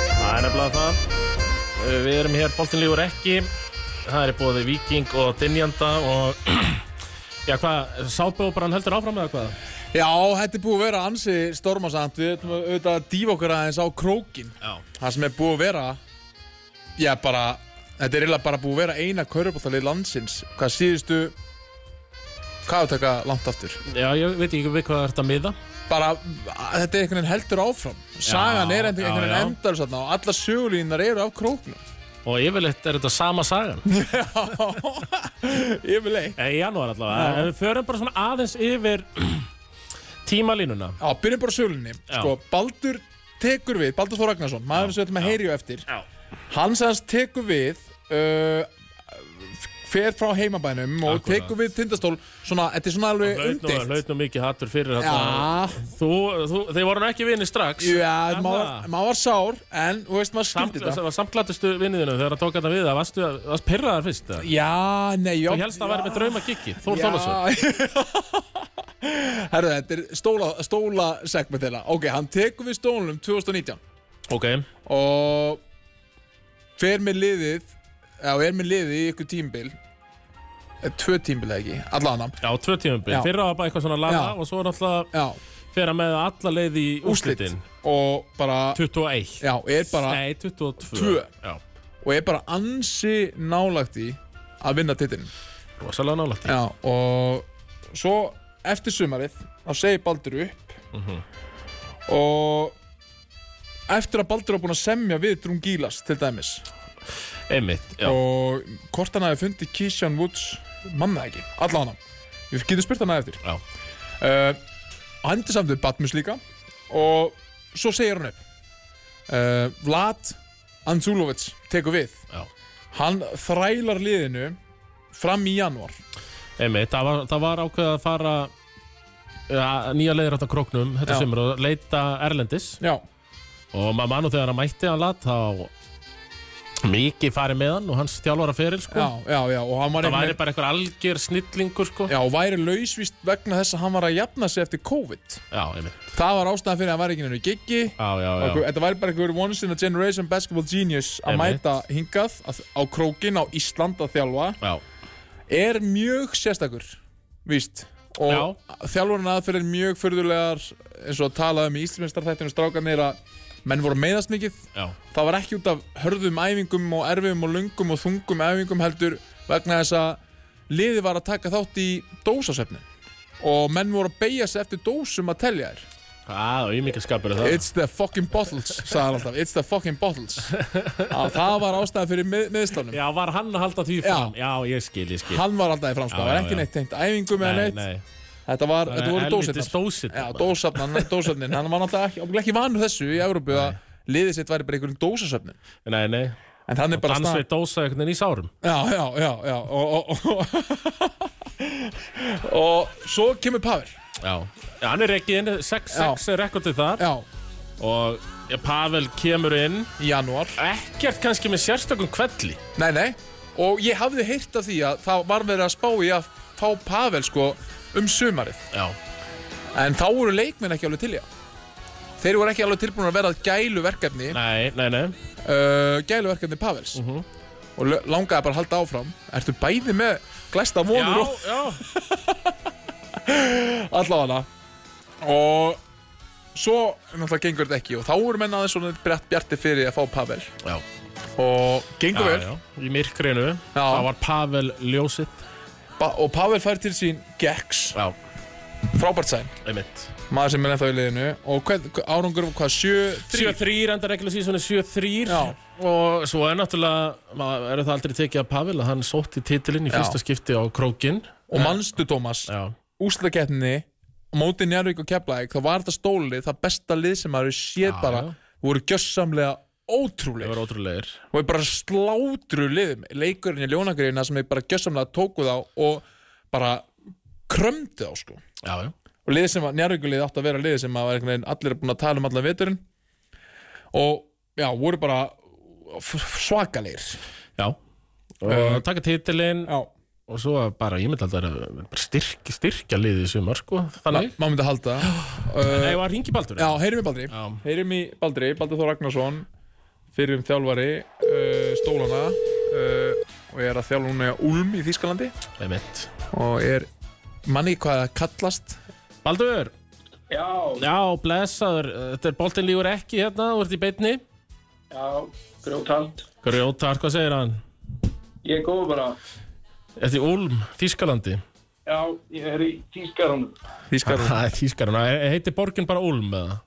það, það. Uh, Við erum hér, Bóltin lífur ekki Það er búið Viking og Dynjanda og Já, hvað, sábjóparan heldur áfram eða hvað? Já, þetta er búið að vera ansi stormasamt Við ætlum að- auðvitað að dýfa okkur aðeins á krókin Já Það sem er búið að vera Já, bara Þetta er eiginlega bara búið að vera eina kaurubóttalið landsins Hvað síðustu Hvað er að taka langt aftur? Já, ég veit ekki við hvað er þetta miða Bara, að- þetta er einhvern veginn heldur áfram Sagan er einhvern já, einhvern já. veginn endar þarna Og alla sögulínar eru af króknum Og yfirleitt er þetta sama sagan Ég vil leik Eh, Í janúar allavega En við förum bara svona aðeins yfir tímalínuna Já, byrjum bara á sögulinni Já. Sko, Baldur tekur við, Baldur Þór Ragnarsson Maður sem við ætlum að heyri á eftir Já Hann sagðist tekur við uh, fer frá heimabænum og Akkúrat. tekur við tindastól svona, þetta er svona alveg Hlaut umdeilt nú- hlaut nú mikið hattur fyrir þetta Já, Þú, þú, þeir voru nú ekki vinni strax já Er maður það? ma var sár en, þú veist, maður Hérna. Samt, skildi þetta samklatustu vinniðinu þegar það tók þetta við það varstu að, varst pyrraðar fyrst það Já, nei, já Þú helst að vera með draumagikki, Þór Þólasson Þólasson Herru, þetta er stóla, stóla segment þeirra Ok, hann tekur við stólunum 2019 Ok, og fer með liðið eða er með liðið í ykkur tímbil tvö tímbil eða ekki, allan já, tvö tímumbil Já. Fyrra var bara eitthvað svona laga Já. og svo náttúrulega já, fer hann með alla leið í úrslit úrslitin og bara 21 já, er bara, Nei, 22 Tvö. Já, og er bara ansi nálægt í að vinna titilin rosalega nálægt því. já, og svo eftir sumarið þá segir Baldur upp Mhm. og eftir að Baldur er búin að semja við Drungílas til dæmis Einmitt, já og hvort hann hafi fundið Keyshawn Woods manna ekki, allan hann við getum spurt hann að eftir Já, uh, hann er samt við Batmus líka og svo segir hann upp uh, Vlad Anzulovic tekur við já hann þrælar liðinu fram í janúar Einmitt, það var, það var ákveðið að fara ja, nýja leiðir átt á króknum þetta Já. sem er að leita Erlendis já, og maður mann og þegar hann mætti hann lat þá mikið farið með hann og hans þjálfara feril sko. já, já, já og hann var það væri einhvern bara einhver algjör snillingur sko. Já, og væri lausvist vegna þess að hann var að jafna sig eftir COVID. já, einmitt Það var ástæðan fyrir að hann var ekki nefnir giggi. já, já, og já. Þetta væri bara einhver once in a generation basketball genius að Einmitt. mæta hingað að, á krókin á Ísland að þjálfa. já. er mjög sérstakur víst og þjálfurinn aðferðir mjög fyrðulegar eins og talaði um í Íslandsmeistarþættinu strákanir að menn voru meiðast mikið já. það var ekki út af hörðum æfingum og erfum og lungum og þungum æfingum heldur vegna þess að liði var að taka þátt í dósasöfnin og menn voru að beigja sig eftir dósum að telja þér Það Ah, er mikið skapur það It's the fucking bottles, sagði hann alltaf It's the fucking bottles að Það var ástæða fyrir mið, miðslánum Já, var hann að halda því fram? Já, ég skil, ég skil Hann var alltaf í Já, framskóð, það já, var ekki já. neitt tengt æfingum eða neitt Þetta, var, þetta voru dósetnar dósirnar Já, dósafnan, dósafnin, hann var náttúrulega ekki, ábyggilega ekki vanur þessu í Evrópu að liðið sitt væri bara einhverjum dósasöfnin Nei, nei En hann er bara Dansveit dósa einhvern veginn í sárum Já, já, já, já Og, og, og, og svo kemur Pavel Já, já hann er ekki inn 6-6 er rekordið þar Já, Og ja, Pavel kemur inn í janúar Ekkert kannski með sérstökum kvelli Nei, nei Og ég hafði heyrt af því að það var verið að spá í að fá Pavel sko um sumarið Já, En þá voru leikmenn ekki alveg til í það Þeir voru ekki alveg tilbúin að vera að gælu verkefni nei, nei, nei uh, gæluverkefni Pavels Mhm. og lö- langaði bara að halda áfram Ertu bæði með glæsta vonur og já allavega og svo náttúrulega gengur þetta ekki og þá voru menn aðeins svona brett bjarti fyrir að fá Pavel Já, og já, gengur vel já Í myrkrinu Það var Pavel ljósitt Ba og Pavel fær til sín Gex, Já, frábært sæn einmitt maður sem er ennþá í liðinu og hver, árangur var hvað, 7-3 7-3, enda regla síðan 7-3 Já. Og svo er náttúrulega maður- Er það aldrei tekið að Pavel að hann sótti titilinn í Já. fyrsta skipti á krókin og manstu Thomas Já, úslakeppni móti Njarvík og Keflæk þá var þetta stólið það besta lið sem maður hefur séð Já, bara já. voru gjössamlega það ótrúleir var ótrúlegir og við bara slátru liðum leikurinn í ljónagreina sem við bara gjössamlega tóku þá og bara krömdu þá sko Já, já og liðið sem var Njarvíkulið átt að vera liðið sem að var einhvern veginn allir búin að tala um allan veturinn og já, voru bara f- f- svakalegir Já og Eh, taka titilinn já, og svo bara ég myndi alltaf að bara styrk, styrkja liðið í sumar sko Ma, þannig maður myndi að halda uh, Nei, var Ringi Baldur já, heyrim í Baldri Já. heyrim í Baldri, Baldur Þór Ragnarsson fyrir um þjálfari uh, stólana uh, og er að þjálfa núna í Ulm í Þýskalandi Einmitt. og er manni hvað það kallast Baldur, Já, já, blessaður Eh, Þetta er boltinn lígur ekki hérna, þú ert í beinni já, grjóthald. Grjótar, hvað segir hann? Ég er góð bara. Þetta er Ulm, Þýskalandi Já, ég er í tískarunum. Þýskalandi Það er Þýskarana, heitir borgin bara Ulm eða?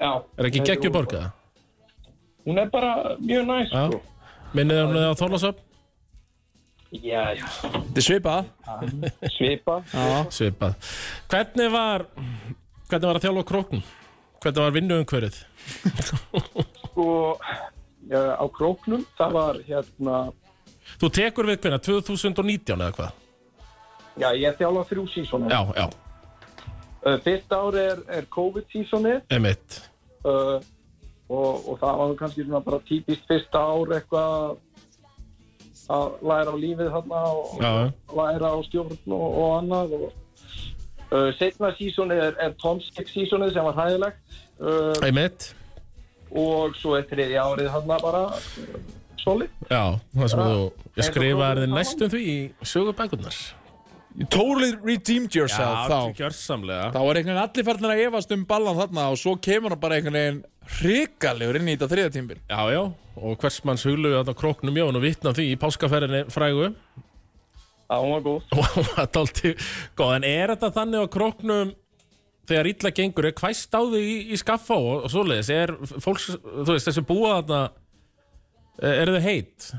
Já. Er ekki Þetta geggju Úlfar. borga? Hún er bara mjög næst, Já. sko. Minnið hann á Þorlásöp? Já, já. Þetta er svipað Svipa. Já. Svipað Hvernig var, hvernig var að þjálfa krókn? Hvernig var vinnuumhverfið? Sko, já, á króknum, það var hérna, Þú tekur við hvernig, 2019 eða hvað? já, ég þjálfa þrjú sísónum. Já, já, Fyrsta ári er, er COVID-sísónið emitt uh, og, og það var nú kannski svona bara típist fyrsta ár eitthvað að læra á lífið þarna og, Já, læra á stjórn og, og annað og uh, setna sísónið er, er Tomsik sísónið sem var hæðilegt uh, emitt og svo er þriði árið hann bara uh, solid Já, það sem Já. þú skrifaði þið næstum því í sögubækurnar You totally redeemed yourself þá gjörsamlega Þá er einhvern veginn allir farnir að efast um ballan þarna og svo kemur hann bara einhvern veginn hrikalegur inn í þetta þriða tímbil Já, já, og hvers manns hugluði þarna á króknum já, og nú vitna því í páskaferðinni frægu að hún var góð og það var dalti góð, en er þetta þannig á króknum þegar illa gengur, er hvæst á því í, í skaffa og, og svoleiðis, er fólks, þú veist, þessi búa þarna er þau heit?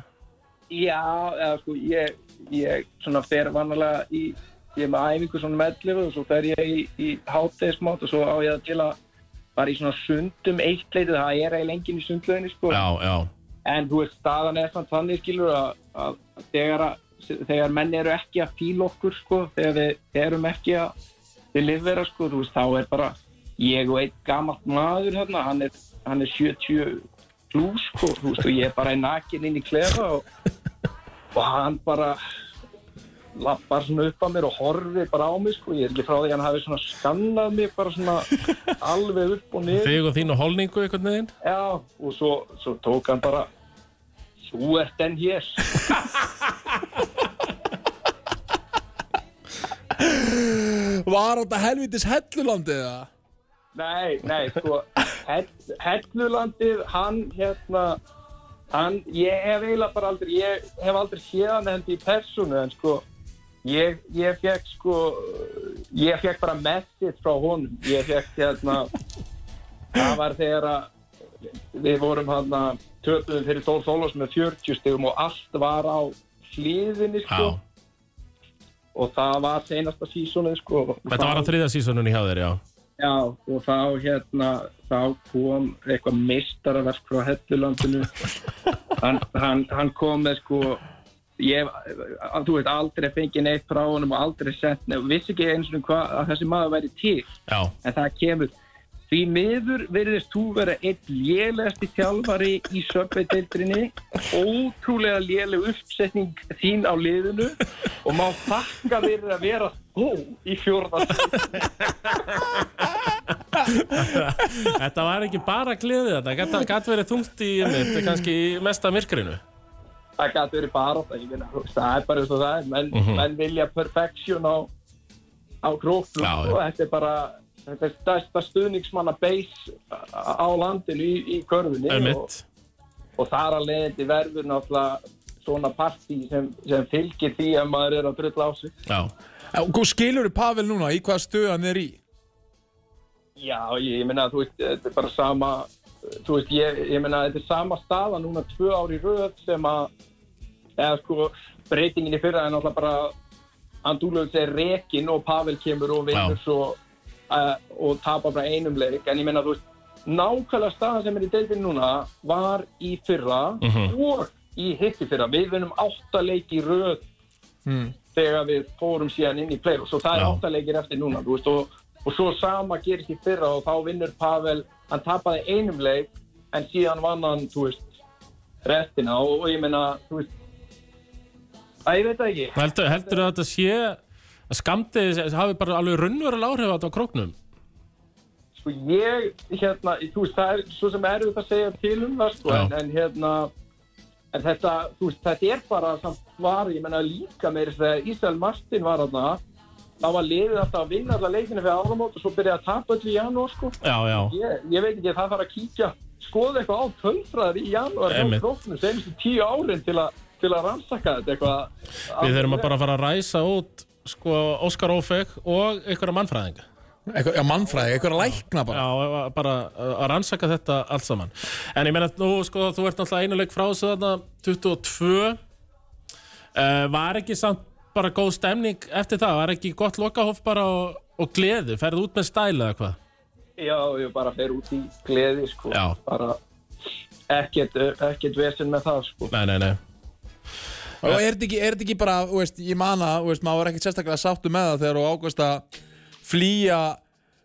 já, eða sko ég, ég svona fer vanalega í ég er með æfingu svona meðlif og svo fer ég í, í hátæðismátt og svo á ég það til að bara í svona sundum eitt leitið, það er eiginlega enginn í sundlöginni sko. Já, já, en þú veist, staðan er samt þannig skilur að, að þegar, að þegar menn eru ekki að fíla okkur sko, þegar við erum ekki að við liðvera, sko, þú veist, þá er bara ég og einn gamalt maður hérna, hann, er, hann er 70 plus, sko, þú veist, og ég er bara í nakin inn í klefa og, og hann bara lappar svona upp að mér og horfir bara á mig, sko, ég er ekki frá því að hann hafi svona skannað mig bara svona alveg upp og niður þig og þín og holningu einhvern veginn Já, og svo, svo tók hann bara Þú ert enn hér Var þetta helvitis hellulandið það? Nei, nei, sko hell- Hellulandið, hann hérna hann, ég hef eiginlega bara aldrei ég hef aldrei séð hann hendi í persónu en sko ég, ég fekk sko ég fekk bara message frá honum ég fekk hérna það var þegar að við vorum hann að töpuðum fyrir Þór Þólas með 40 stegum og allt var á hliðinni sko Já, og það var senasta sísónið sko. Og þetta var þá- að þriða sísonunni hjá þér, já Já, og þá hérna þá kom eitthvað meistaraverk frá Hellulandinu hann, hann, hann kom með sko ég, að- þú veit, aldrei fengið neitt frá honum og aldrei sett neitt, vissi ekki eins og hvað að þessi maður væri til Já, en það kemur Því miður verðist þú vera einn lélegasti þjálfari í söpveiteildrinni, ótrúlega léleg uppsetning þín á liðinu og má þakka fyrir að vera þú í fjórðast. þetta var ekki bara gleðið þetta, þetta gæti verið þungt í mitt, kannski í mesta myrkrinu Það gæti verið bara það, ég meina, þú veist, það er bara eins og það er, menn, Mhm. menn vilja perfection á, á grófnum Já, já. og þetta er bara, þetta er stærsta stuðningsmanna base á landinu í, í körfunni og, Einmitt, og þar að leiðandi verður náttúrulega svona partí sem, sem fylgir því að maður er að drulla á sig. já Hvað skilur þið sko, Pavel núna í hvaða stöð hann er í? Já, ég, ég meina, þú veist, þetta er bara sama, þú veist, ég, ég meina, þetta er sama staða núna tvö ár í röð sem að, eða sko, breytingin í fyrra er náttúrulega bara, Andúlaus er rekin og Pavel kemur og vinnur Já. svo uh, og tapar bara einum leik, en ég meina, þú veist, nákvæmlega staðan sem er í deildin núna var í fyrra og í hitti fyrra. Við vinnum átta leik í röð þegar við fórum síðan inn í play-offs og það er Já. áttalegir eftir núna þú veist, og, og svo sama gerist í fyrra og þá vinnur Pavel, hann tapaði einum leik en síðan vann hann þú veist, restina og, og ég meina, þú veist að ég veit það ekki Heldur, heldur að þetta sé að skamdið hafi bara alveg raunverulega áhrif á þetta á króknum? sko ég, hérna, þú veist, það er svo sem er þetta að segja til um það, sko, Já. en, en hérna, en þetta, þú veist, þetta er bara samt var, ég menna líka meir þegar Ísrael Martin var þarna, þá var liðið alltaf að vinna alla leikinu fyrir áramót og svo byrjaði að tapa öll í janúar, sko. já, já, Ég, ég veit ekki, það þarf að kíkja, skoða eitthvað á tölfræðar í janúar á Einmitt. króknum senustu tíu árin til að, til að rannsaka þetta eitthvað. við þurfum að bara fara að ræsa út sko Óskar Ófeg og einhverja mannfræðinga Eitthvað, já, mannfræði, eitthvað að lækna bara. Já, að- bara að rannsaka þetta allt saman En ég meina, nú sko, þú ert náttúrulega einuleik frá þessu þarna 22 uh, Var ekki samt bara góð stemning eftir það? Var ekki gott lokahof bara og, og gleði? Ferðu út með stæla eða hvað? Já, ég bara fer út í gleði, sko. Já. Bara ekkert, ekkert vesen með það, sko. Nei, nei, nei Og er þetta ekki, er þetta ekki bara, þú veist, ég man að, þú veist, maður var ekkert sérstaklega sáttu með það þegar þú ákvæmst að flýja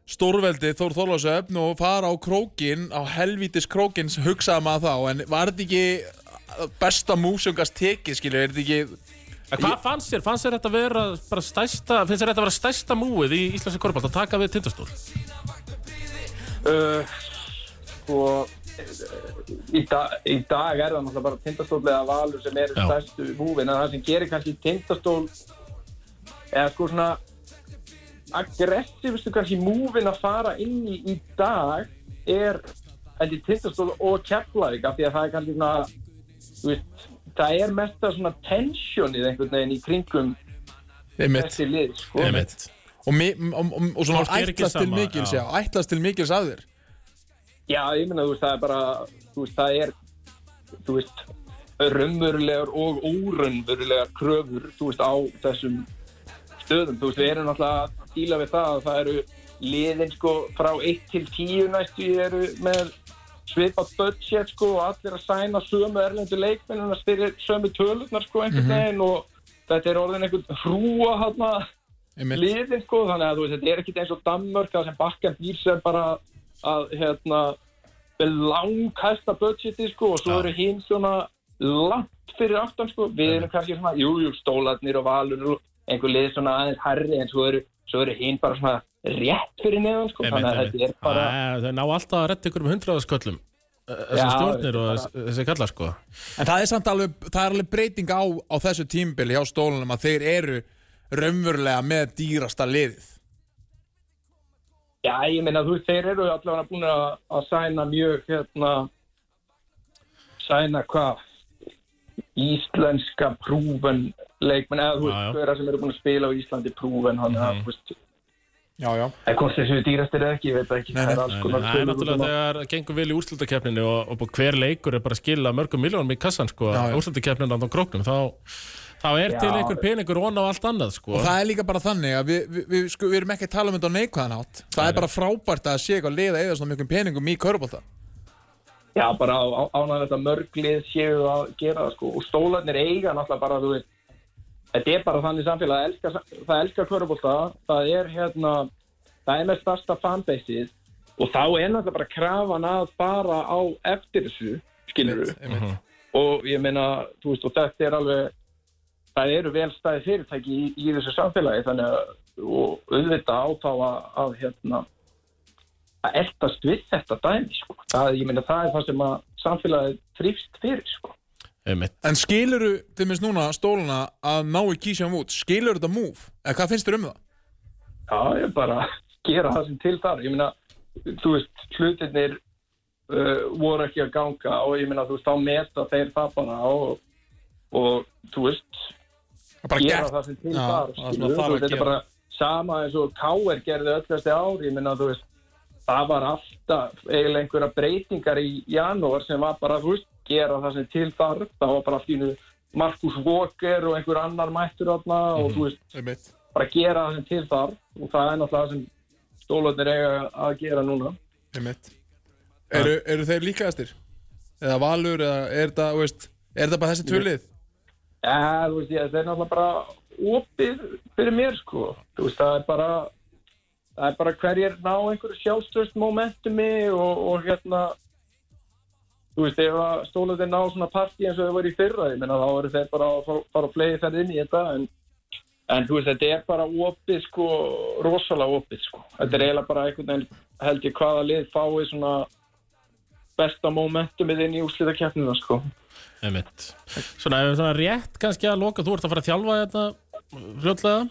stórveldi Þór Þorlásöfn og fara á krókin, á helvítis krókin, hugsaði maður þá, en var þetta ekki besta múf sem gast tekið, skilju, er þetta ekki, En Hvað fannst þér? Fannst þér þetta vera bara stæsta, finnst þér þetta vera stæsta múið í Íslandsi korfbalt að taka við tindastól? Uh, sko, eh, í, dag, í dag er það náttúrulega bara tindastól eða valur sem eru Já. stærstu múfin, en það sem gerir kannski tindastól eða sko svona aggressífustu kannski múfin að fara inn í í dag er held í tindastól og keflavík af því að það er kannski svona þú veist, það er mesta svona tensjónið einhvern veginn í kringum einmitt, þessi lið sko. Einmitt. og, mi- og, og, og svona Fólk er ekki ætlast til sama, mikils, já. já, ætlast til mikils að þér. Já, ég meina, þú veist, það er bara, þú veist, það er, þú veist, raunverulegar og óraunverulegar kröfur, þú veist, á þessum stöðum. Þú veist, við erum náttúrulega að díla við það að það eru liðin, sko, frá 1 til 10 næstu eru með svipað budget, sko, og allir að sæna sömu erlendu leikmennina styrir sömu tölurnar, sko, einhvern veginn og þetta er orðin einhvern hrúa, hann Einmitt. liðin sko, þannig að þú veist, þetta er ekkert eins og Danmörk þar sem bakkan býr sem bara að, hérna, með langkæsta budgeti sko og svo Já. eru hinn svona langt fyrir aftan sko, við erum kannski svona, jú, jú, stólarnir og valur og einhver lið svona aðeins herri en svo eru, svo eru hinn bara svona rétt fyrir neðan sko, Einmitt, þannig að þetta er einmitt. bara, Æ, Þau ná alltaf að retta ykkur um hundraðasköllum Já, Þessi eh, stjórnir og þessi- þessi kallar sko En það er samt alveg, það er alveg breyting á, á þessu tímbili hjá stólunum að þeir eru raunverulega með dýrasta liðið. já, ég meina, þú veist, þeir eru allavega búin að, að sæna mjög, hérna, sæna hvað, íslenska prúven leikmenn, eða þú Já, já. Mhm. veist, hverja sem eru búin að spila á Íslandi prúven, hann, mm. þú veist, Já, já. En hvort þessu dýrastir eða ekki, ég veit það ekki. Nei, það nei. er alls Nei, konar Það er tölur út um náttúrulega allt. þegar það gengur vel í úrslutakefninu og, og bara hver leikur er bara að skila mörgum miljónum í kassan sko, Já, já. úrslutakefninu á króknum þá, þá er Já. til einhver peningur ón á allt annað sko. Og það er líka bara þannig að við, við, við, sko, við erum ekki að tala um þetta á neikvæðanátt. Það er bara frábært að sé eitthvað liða eða svona mjög peningum í körbólta. Já, bara ánægðan þetta mörglið séu að gera það, sko. Og stólarnir eiga náttúrulega bara, þú veist, þetta er bara þannig samfélag, það elskar, það elskar kvörubólta, það er hérna, það er með starsta fanbaseið og þá er náttúrulega bara krafan að fara á eftir þessu, skilur við. Mhm. og ég meina, þú veist, og þetta er alveg það eru velstæði fyrirtæki í, í þessu samfélagi þannig að, og auðvitað á þá að, að hérna að eldast við þetta dæmi sko. það, ég meina, það er það sem að samfélagið þrýfst fyrir, sko Einmitt. En skiluru, til minnst núna, stóluna að ná í kísjum út, skiluru þetta move? Eða hvað finnst þér um það? Já, ég bara gera það sem til þar. Ég meina, þú veist, hlutinir uh, voru ekki að ganga og ég meina, þú veist, þá meta þeir það bara og, og þú veist, Það er bara gera gert. það sem til Já, þar. það sem skilurðu, það þarf þú veist, að Þetta gera. er bara sama eins og K.R. gerði öll þessi ár, ég meina, þú veist, það var alltaf eiginlega einhverja breytingar í janúar sem var bara, þú veist, gera það sem til þar. Það var bara allt í nú Markus Walker og einhver annar mættur þarna Mhm. og þú veist, Einmitt. bara gera það sem til þar og það er náttúrulega það sem stólarnir eiga að gera núna Einmitt. Eru, eru þeir líkaðastir? Eða valur, eða er þetta, þú veist, er þetta bara þessi tvölið? ja, þú veist, ég, það er náttúrulega bara opið fyrir mér sko þú veist, það er bara það er bara hverjir ná einhverju sjálfstöðst momentumi og, og hérna þú veist, ef að stólarnir ná svona partí eins og þau voru í fyrra ég menna þá eru þeir bara að fara- fara að flegi þær inn í þetta en, en þú veist, þetta er bara opið sko, rosalega opið sko þetta er eiginlega bara einhvern veginn held ég hvaða lið fái svona besta momentumið inn í úrslitakeppnina sko. Einmitt. Svona, ef við svona rétt kannski að loka, þú ert að fara að þjálfa þetta fljótlega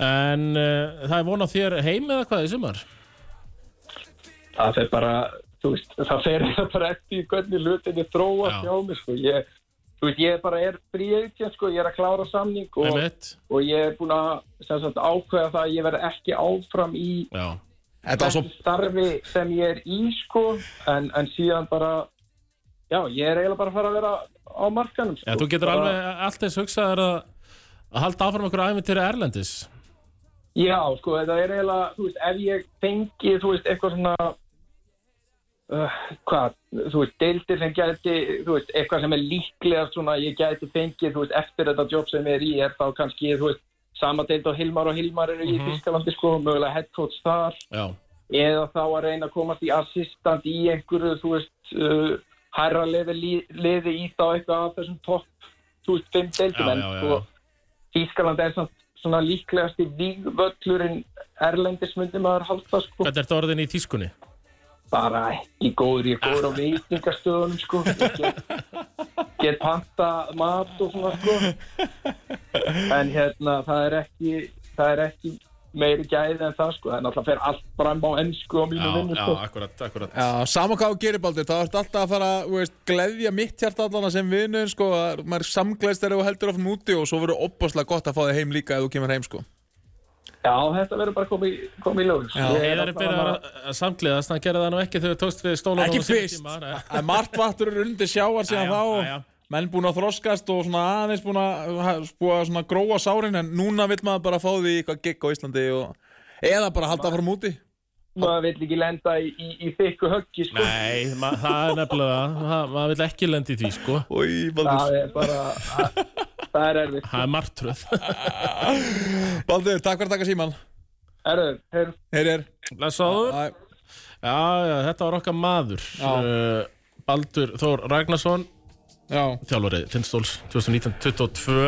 en uh, það er von á þér heim eða hvað í sumar? það fer bara þú veist, það fer bara eftir í hvernig hlutinni þróa Já. hjá mér sko. ég, þú veist, ég bara er fríeitja sko, ég er að klára samning og, Einmitt, og ég er búin að sem sagt, ákveða það að ég verð ekki áfram í já, Þetta var svo starfi sem ég er í sko, en, en síðan bara já, ég er eiginlega bara að fara að vera á markanum sko. já, þú getur Bara- alveg allt eins hugsaðar að að halda áfram okkur æfintýri Erlendis Já, sko, þetta er eiginlega, þú veist, ef ég fengi, þú veist, eitthvað svona, uh, hvað, þú veist, deildir sem gæti, þú veist, eitthvað sem er líklega svona, ég gæti fengið, þú veist, eftir þetta jobb sem ég er í, er þá kannski, þú veist, sama deild og Hilmar og Hilmar eru í Þýskalandi, sko, mögulega head coach þar, Já, eða þá að reyna að komast í assistant í einhverju, þú veist, uh, hærra liði, liði í þá eitthvað af þessum topp, þú veist, fimm deildum, Já, en já, já, sko, Ískaland er samt svona líklegasti vígvöllurinn erlendis myndi maður halda, sko, hvernig ertu orðin í tískunni? bara ekki góður, ég er góður á veitingastöðunum, sko, Ég get, get panta mat og svona, sko, en hérna, það er ekki, það er ekki, meiri gæði en það sko, það er náttúrulega fer allt fram á ennsku á Já, mínu vinnu já, sko. akkurat, akkurat Já, sama hvað þú gerir Baldur, þá ertu alltaf að fara þú veist, gleðja mitt hjarta allana sem vinnun sko, að maður samgleðst þegar þú heldur áfram úti og svo verður opbáslega gott að fá þig heim líka ef þú kemur heim sko Já, þetta verður bara komið komi í lög. Já. Heiðar er byrjað að að samgleðast, hann gerði það nú ekki þegar þú tókst við stólan Ekki fyrst, að margt vatnur er undir sjáar síðan Jæja, þá jæja. og menn búin að þroskast og svona aðeins búin að, búin að svona gróa sárin en núna vill maður bara fá því eitthvað gig á Íslandi og, eða bara halda áfram úti Maður vill ekki lenda í, í, í þykku höggi, sko. Nei, ma það er nefnilega það, maður vil ekki lendi í því, sko Í, Baldur, Það er bara, það- það er erfitt. Það er martröð Ah. Baldur, takk fyrir að taka síman Erður, heyrðu. Heyr, heyr Lesaður Æ, Já, já, þetta var okkar maður Já. uh, Baldur Þór Ragnarsson Já, Þjálfarið Tindstóls 2019-22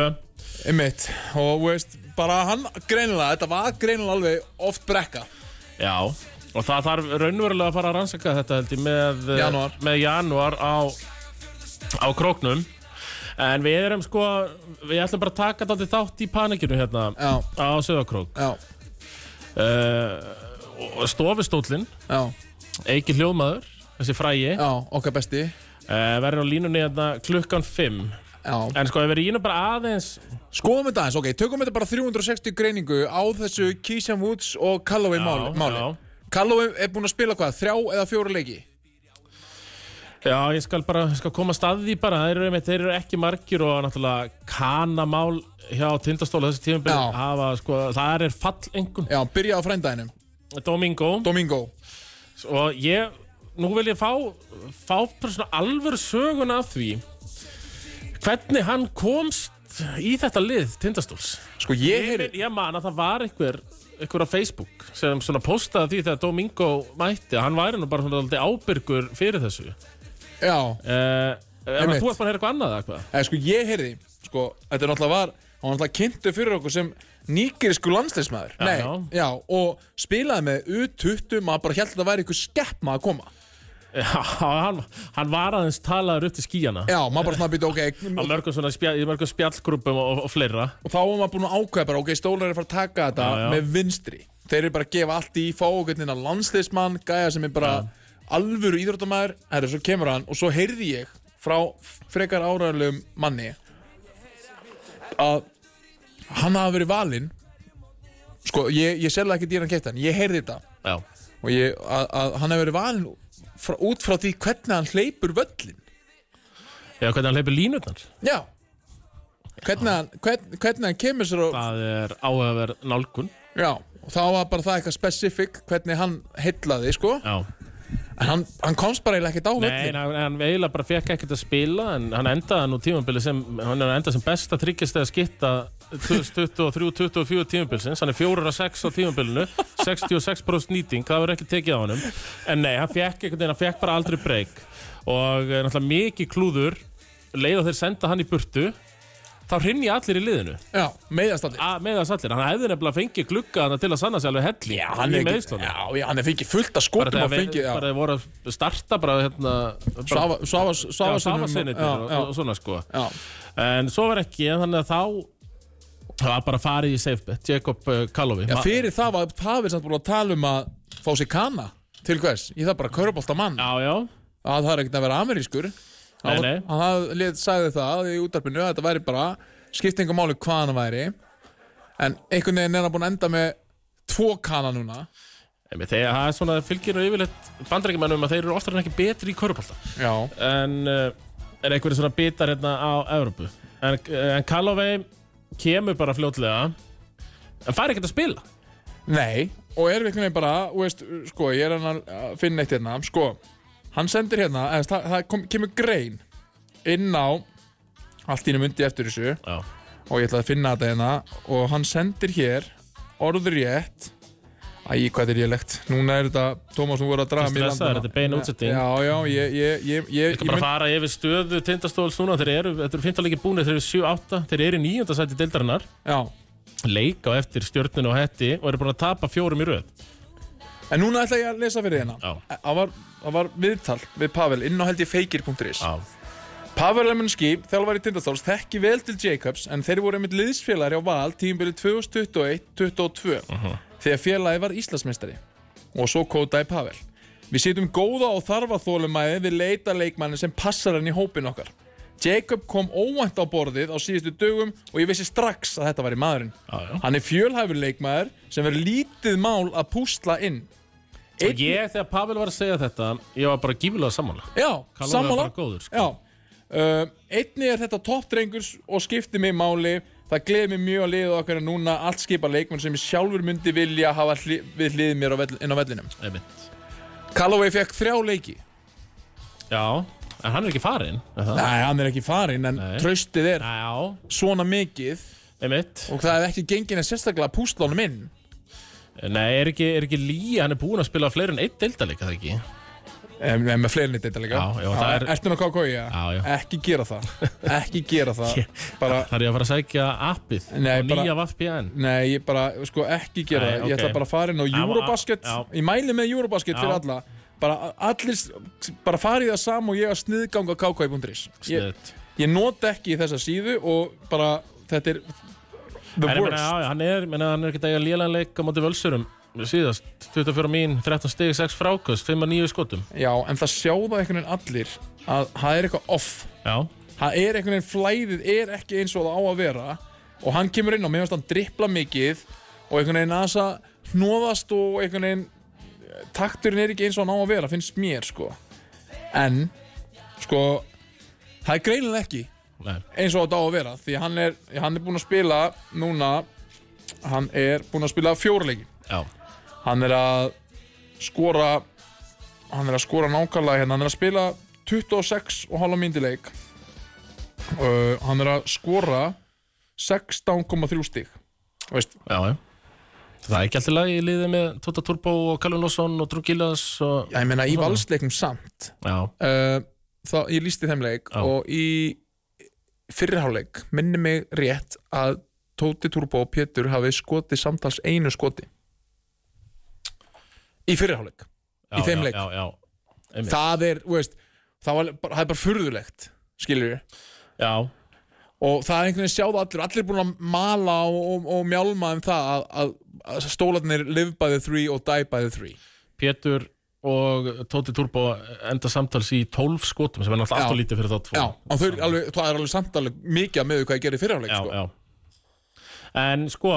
einmitt og þú veist, bara hann greinilega, þetta var greinilega alveg oft brekka Já, og það þarf raunverulega að fara að rannsaka þetta held ég með eh, Janúar. með januar á, á króknum En við erum sko, við ætlum bara að taka þetta þátt í panikinu hérna Já, á Söðakrók já, uh, og Stofustólinn, já, Eiki Hljóðmaður, þessi frægi uh, já, okkar besti verður á línunni hérna klukkan 5 Já, En sko, ef við rínum bara aðeins skoðum þetta aðeins, ok, tökum þetta bara 360 greiningu á þessu Keyshawn Woods og Callaway máli, máli. já. Callaway er búinn að spila hvað, þrjá eða fjóra leiki? Já, ég skal bara skal koma að staði því bara, þeir eru, einmitt- þeir eru ekki margir og náttúrulega kanamál hjá tindastóla þessi tímabili Já. hafa, sko, það er fall engum, Já, byrja á frændaðinum, Domingo Domingo og ég, nú vil ég fá fá bara svona alvöru söguna af því hvernig hann komst í þetta lið tindastóls Sko ég ég, heyri, ég man að það var einhver einhver á Facebook sem svona postaði því þegar Domingo mætti að hann væri nú bara svona dálítið ábyrgur fyrir þessu uh, já, en Einmitt. þú ert bara að heyra eitthvað annað eða hvað? eða, sko ég heyri, sko, þetta er náttúrulega var, hann var náttúrulega kynntu fyrir okkur sem nýgerisku landsleismæður Já, Nei, já. já, og spilaði með U20, maður bara held að það væri ykkur skeppma að koma Já, hann, hann var aðeins talaður upp til skíjana Já, maður bara svona býta, á ok, mörgum svona spjall, í mörgum spjallgrúpum og, og fleira og þá var maður búinn að ákveða bara, ok, stólar er að fara að taka þetta Já, já. með vinstri þeir eru bara að gefa allt í, fá okkur hérna landsleismann, gæja sem er bara alvöru íþróttamæður, herru, svo kemur hann og svo heyrði ég frá frekar áræðulegum manni að hann hafi verið valinn sko, ég, ég selða ekki dýran keitt hann, ég heyrði þetta Já, og ég, að, að hann hafi verið valinn frá, út frá því hvernig hann hleypur völlin já hvernig hann hleypir línutnar já hvernig hann, hvern, hvernig hann kemur sér og Það er áhugaverð nálgun Já, og þá var bara það eitthvað specific hvernig hann heitlaði, sko Já, en hann, hann komst bara eiginlega ekkert á nei, völlin en hann, hann eiginlega bara fekk ekkert að spila en hann endaði nú tímabili sem hann er að enda sem besta tryggjast eða skitta 2023-2024 tímabilsins hann er 4-6 á tímabilinu 66% nýting, það verður ekki tekið á honum en nei, hann fekk einhvern veginn, hann fekk bara aldrei breyk og eh, náttúrulega mikið klúður leið að þeir senda hann í burtu þá rinja allir í liðinu Já, meiðast allir að meðast allir, hann hefði nefnilega fengið glugga þarna til að sanna sig alveg helling Já, hann í er ekki, meiðslunum. já, já, hann er fengið fullt að bara skotum þegar og fengið, við- bara já, þeir voru að starta bara hérna bara- Sava- Sava- Já, Sava- Savasinni já, já, og og svona sko já, en svo var ekki, en þannig að þá það var bara farið í safe bet Jakob eh, Kalovi já, Ma- fyrir það var Pavel samt búin að tala um að fá sér kana til hvers, ég þarf bara að körubolta mann já, já, að það er ekkert að vera amerískur Nei, nei. hann hafði- lét- sagði það í útarpinu að þetta væri bara skiptingum máli hvað hann væri en einhvern veginn er hann búin að enda með tvo kana núna Emi, þegar það er svona fylgir og yfirleitt bandrækjumennum að þeir eru oftar en ekki betri í korupálta já, en uh, er einhverju svona bitar hérna á Evrópu en, uh, en Kalovi kemur bara fljótlega en fær ekkert að spila nei og er einhvern veginn bara, þú veist, sko ég er hann að finna eitt hérna, sko hann sendir hérna, eða, það, það kom, kemur grein inn á allt ínum undi eftir þessu já, og ég ætla að finna þetta hérna og hann sendir hér orður rétt Æ, hvað þetta er lélegt Núna er þetta, Tómas, nú voru að draga Þú mig í stressaður, landana. þetta er bein útsending. Já, já, ég, ég, ég, ég, ég skal bara fara yfir stöðu tindastóls núna þeir eru, þetta eru 15 leiki búinir, þeir eru 7-8 þeir eru í 9. sæti deildarinnar Já, leik á eftir stjórninu og hetti og eru búin að tapa fjórum í röð en núna ætla ég að lesa fyrir hérna Já. Það var, það var viðtal við Pavel inn á held ég feikir.is já, Pavel Lemonski, þjálfari Tindastóls, þekki vel til Jacobs en þeir voru einmitt liðsfélagri á val tímbilið 2021-2022 þegar félagi var Íslandsmeistari og svo kótaði Pavel. Við sýtum góða og þarfa þólumæði við leita leikmanni sem passar hann í hópin okkar. Jacob kom óvænt á borðið á síðustu dögum og ég vissi strax að þetta var í maðurinn. já, já. Hann er fjölhæfur leikmaður sem verður lítið mál að púsla inn. Og ég, þegar Pavel var að segja þetta, ég var bara gífilega sammála. Já, Kalóri sammála var bara góður, sko. Já uh, Einni er þetta toppdrengur og skipti mig máli Það gleði mig mjög að liða okkar en núna allt skipa leikmenn sem ég sjálfur myndi vilja hafa hli, við hlið mér á vell, inn á vellinum Einmitt. Callaway fekk þrjá leiki Já, en hann er ekki farinn. er það? Nei, hann er ekki farinn en Nei. tröstið er Já, svona mikið einmitt. og það er ekki gengin að sérstaklega að púsla honum inn Nei, er ekki, er ekki líi, hann er búinn að spila fleiri en eitt deildarleika, það ekki? Em, em, með fleiri nýtt eitthvað líka Já, já, það er- Ertu nú KK, já? Já, já. Ekki gera það Ekki gera það Bara, Þar er ég að fara að sækja appið Nei, og bara- nýja VPN. Nei, ég bara, sko, ekki gera Nei, það Ég ok. ætla bara að fara inn á Eurobasket já. Ég mæli með Eurobasket Já. fyrir alla Bara allir, bara farið það sam og ég að sniðganga kákvæði.is ég, Sniðugt. ég nota ekki þessa síðu og bara, þetta er the En ég meina, worst já, já, hann er, meina, hann er ekki að eiga lélan leik á móti völsurum síðast. 24 mín, 13 stig, 6 frákast, 5 að 9 skotum. Já, en það sjá það einhvern veginn allir að það er eitthvað off Já, það er einhvern veginn flæðið er ekki eins og það á að vera og hann kemur inn og mér finnst hann drippla mikið og einhvern veginn aðeins að hnoðast og einhvern veginn takturinn er ekki eins og hann á að vera, finnst mér sko en sko það er greinilega ekki nei, eins og þetta á að vera því hann er, hann er búinn að spila núna hann er búinn að spila fjórleiki já, hann er að skora hann er að skora nákvæmlega hérna hann er að spila 26 og halva myndi leik uh, hann er að skora 16,3 stig Þú veist, já, já. Það er ekki alltaf lagi í liðið með Tóta Turbo og Callum Lawson og Drew Gillas og... já, ég meina í valsleikum samt Já, uh, þá ég lísti þeim leik Já. og í fyrirháleik minni mig rétt að Tóti Turbo og Pétur hafi skotið samtals einu skoti í fyrirháleik já, í þeim já, leik. já, já, Einmitt. það er, þú veist, það, var, bara- það er bara furðulegt skilur við já, og það er einhvern veginn sjáðu allir allir búin að mala og, og, og mjálma um það að, að, að stólarnir live by the three og die by the three Pétur og Tóti Turbo enda samtals í 12 skotum sem er náttúrulega Já. allt og lítið fyrir þá tvo já, og þau, eru alveg, það er alveg samt alveg mikið að meðu hvað ég gerir fyrirháleik já, sko. já. En sko,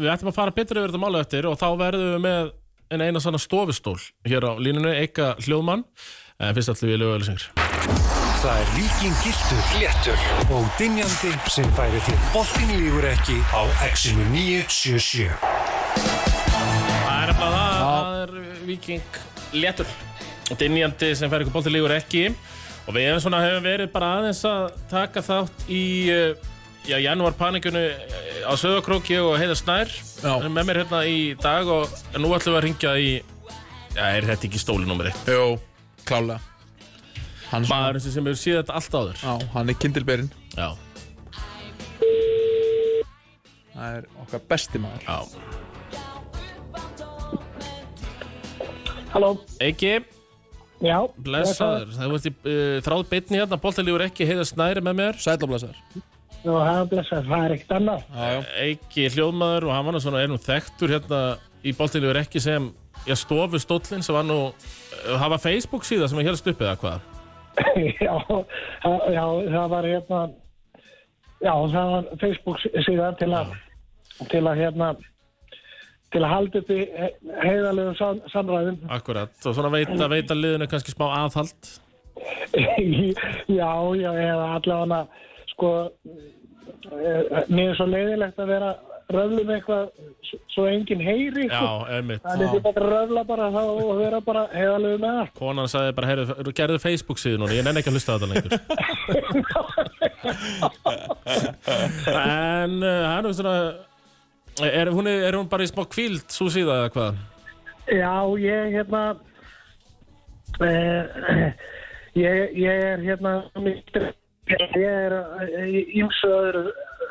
við ætlum að fara betur yfir þetta mála eftir og þá verðum við með en eina svona stofustól hér á línunni, Eika Hljóðmann en fyrst allir við lögu öllisengur Það er líkin giltur, léttur og dinjandi sem færi þér. Boltin lígur ekki á Exinu 977. Það er bara það, það er viking léttur og dinjandi sem fær ykkur bóttir lígur ekki og við hefum svona hefum verið bara aðeins að taka þátt í eh, já, janúar panikunu á Söðakróki og Heiða Snær Já. Hann er með mér hérna í dag og en nú ætlum við að ringja í já, er þetta ekki stólinúmeri? Jó, klálega hann, er svona- Maðurinn sem- sem hefur síðan þetta allt áður já, hann er kindilberinn Já það er okkar besti maður Já. Halló, Eiki, já blessaður, það vart í uh, þráð beitni hérna, boltalífur ekki, heiða snæri með mér. Sætlablasar Nú, það er blessaður, það er ekkert annað Eiki hljóðmaður og hann var nú svona einum þekktur hérna í boltalífur ekki sem, já, stofu stóllin sem var nú, uh, hafa Facebook síða sem er helst uppið eða hvað. já, það- já, það var hérna Já, það var Facebook síðan til að til að hérna til að halda upp í heiðalegu sam samræðum Akkurat, og svona veita, veita liðinu kannski smá aðhald. já, já, eða allavega sko eh, mér er svo leiðilegt að vera röflum eitthvað s- svo enginn heyri Já, sko. einmitt. það er ekki bara að röfla bara þá og vera bara heiðalegu með það Konan sagði bara, heyrðu, gerðu Facebook síðu núna, ég nenni ekki að hlusta á þetta lengur. en uh, hann er svona, er hún, er hún bara í smá kvíld, svo síða eða hvað? Já, ég hérna eh, ég, ég er hérna mikið- ég er ímsu öðru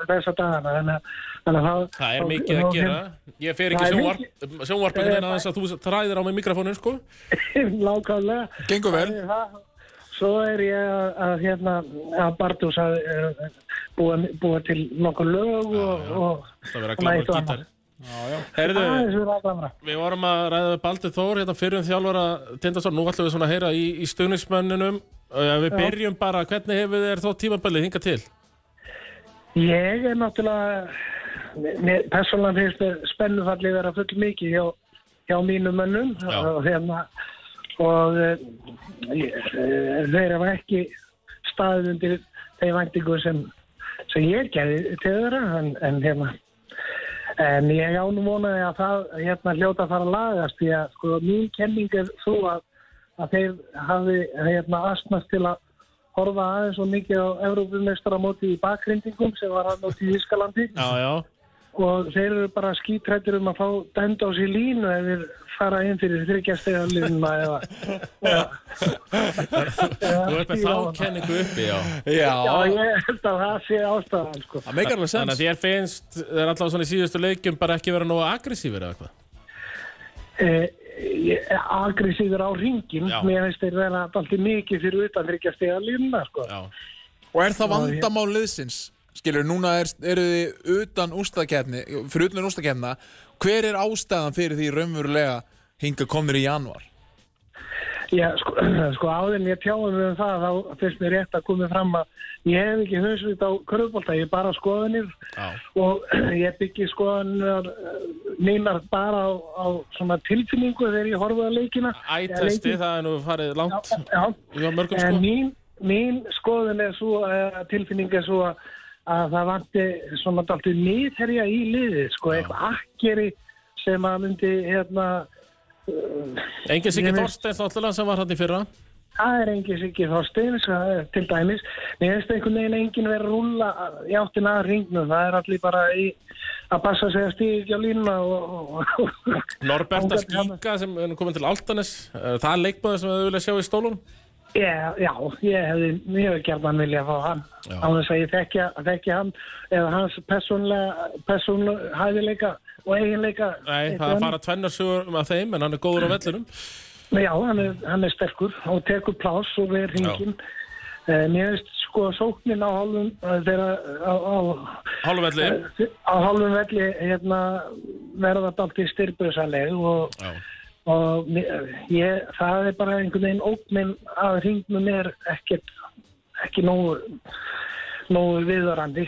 þessa dagana þannig að- þannig að þá- Það er þá- mikið þá- að gera. Ég fer Það ekki er Eh, sjónvarp, sjónvarpinu meina þess að þú træðir á mig mikrofónin, sko. Nákvæmlega Gengur vel Það er það. Svo er ég að, að hérna að Bardús að eh, búa, búa til nokkur lög og, og Það verður að Nei, þú glamra annað. gítar. Herðu, aðeins við ræðlamra við vorum að ræða við Baldur Þór, hérna fyrir um þjálfara Tindastól. Nú ætlum við svona að heyra í, í stöðnismönnunum. Uh, Við byrjum bara, hvernig hefur þér þó tímabilið hingað til? Ég er náttúrulega mér- mér persónulega finnst mér spennufallið vera full mikið hjá, hjá mínum mönnum Já. og hérna og eh, ég- eh, þeir hafa ekki staðið undir þeim væntingu sem, sem ég gerði til þeirra en, en hérna en ég ánum vonaði að það hérna hljóta að fara að lagast því að sko mín kenning er þú að, að þeir hafi hérna astmast til að horfa aðeins og mikið á Evrópumeistaramóti í bakgrindingum sem var hann átt í Ískalandi Já, já. og þeir eru bara skítrættir um að fá dæmd á sér línu ef þeir fara inn fyrir þryggjastega línuna eða, eða, eða Þú ert með þá kenningu uppi, já. Já, Já, ég held að það sé ástæðan sko. það meikar alveg Þannig sens að þér finnst, þeir er allavega svona í síðustu leikjum bara ekki vera nógu aggressífir eða hvað? Eh, ég- Agressíður á ringin Já. mér finnst þeir vera alltaf mikið fyrir utan þryggjastega línuna sko. Já. Og er hérna. það vandamál liðsins? Skilur, núna er, eru þið utan ústakefni, fyrir utan ústakefna Hver er ástæðan fyrir því raunverulega hinga komnir í janúar? Já, sko, sko áður en ég tjáði mig um það þá fyrst mér rétt að komið fram að ég hef ekki hausvít á kröfbólta, ég er bara skoðanir Já. og ég byggi skoðanir mínar bara á, á svona tilfinningu þegar ég horfið á leikina. Eða Ætesti, leikinn- það er nú farið langt Já, hjá mörgum en sko. mín, mín skoðun er svo, eh, tilfinning er svo að, að það vanti svona daltið nýðherja í liðið, sko, eitthvað akkeri sem að myndi, hérna, eh, Engin Siggi Ég veit- Þorsteins náttúrulega sem var hann í fyrra. Það er engin Siggi Þorsteins það er eh, til dæmis. Mér finnst einhvern veginn enginn verið að rúlla í áttina að ringnum. Það er allir bara í, að passa sig að stíða ekki á línuna og... og, og Norberta Þangað til hann- Skíka sem er nú komin til Altanes. Eh, Það er leikmaður sem þau vilja sjá í stólun. Já, já, ég hefði mjög gerðan vilja að fá hann. Já. Á þess að ég þekki, þekki hann eða hans persónlega, persónlega hæfileika og eiginleika. Nei, það er að fara tvennarsugur um að þeim en hann er góður á vellinum. Nei, Já, hann er, hann er sterkur og tekur pláss og verður hringin. Eh, Mér finnst sko sóknin á hálfum eh, þegar á, á Hálfvelli. á hálfum velli hérna, verða dalt í styrbröðsanleg og, Já. og ég, það er bara einhvern veginn ógnin að hringnum er ekkert ekki nógu, nógu viðvarandi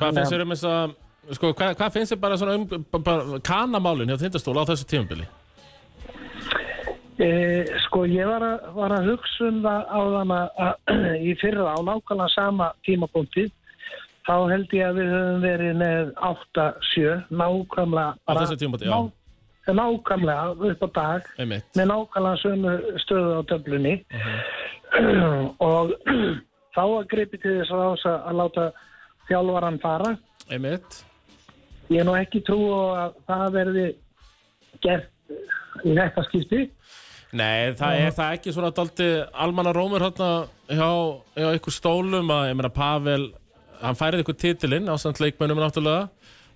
Hvað finnst þér um þess að, sko, hvað, hvað finnst þér bara svona um, bara, bara kanamálin hjá Tindastóla á þessu tímabili? Eh, sko ég var að, var að hugsa um það á þann að í fyrra á nákvæmlega sama tímapunkti þá held ég að við höfum verið með 8-7 nákvæmlega Á bara- þessu tímapunkti, já. ná- nákvæmlega upp á dag Einmitt. með nákvæmlega sömu stöðu á töflunni og þá að gripi til þess að, að, að láta þjálfaran fara Einmitt. ég er nú ekki trú á að það verði gert í þetta skipti Nei, það er það ekki svona daldi almanna rómur hérna hjá, hjá ykkur stólum að, ég meina, Pavel, hann færið ykkur titilinn á samt leikmönnum náttúrulega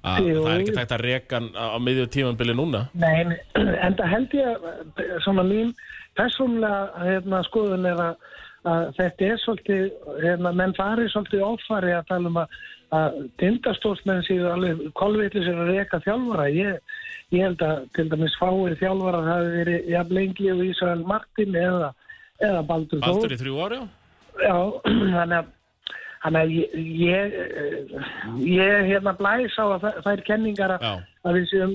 að Jú, það er ekki jú. tægt að reka hann á, á miðju tímanbili núna Nei, en það held ég að eh, svona mín persónlega hérna, skoðun er að, að þetta er svolítið, hérna, menn farið svolítið ofari að tala um að, að tindastórsmenn séu alveg kolvitlis er að reka þjálfara. Ég, ég held að til dæmis fáið þjálfara það hefur verið jafn lengi og Ísrael Martin eða, eða Baldur Þór. Baldur í þrjú ári já? Já, þannig að Þannig að ég, ég, eh, ég hérna blæs á að þær- þær kenningar að, Já. að við séum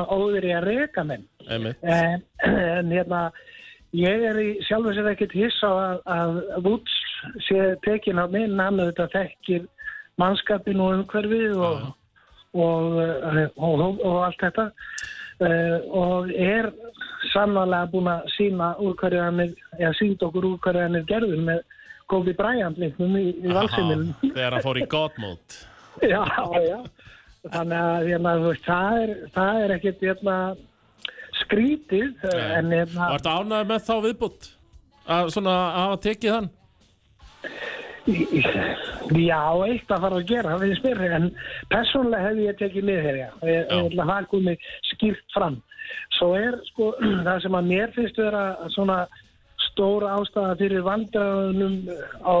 að óðri að reka menn einmitt en, en hérna ég er í sjálfur sér ekkert hiss á að, að Woods sé tekin á minn hann auðvitað þekkir mannskapin og umhverfið og, og, eh, og, og, og allt þetta uh, og er sannlega búin að sína úr hverju hann er, eða sínd okkur úr hverju hann er gerður með Kobe Bryant leiknum í, í valsiminum Aha, þegar hann fór í God mode Já, já. Þannig að hérna, þú veist, það er, það er ekkert hérna, skrítið, Nei. en hérna, og ertu ánægð með þá viðbútt að svona að hafa tekið hann já, eitt að fara að gera, það finnst mér, en persónlega hef ég tekið mið hér, já. Ég Já. ég ætla að það komi skýrt fram. Svo er, sko, það sem að mér finnst vera svona stóra ástæða fyrir vandræðunum eh, á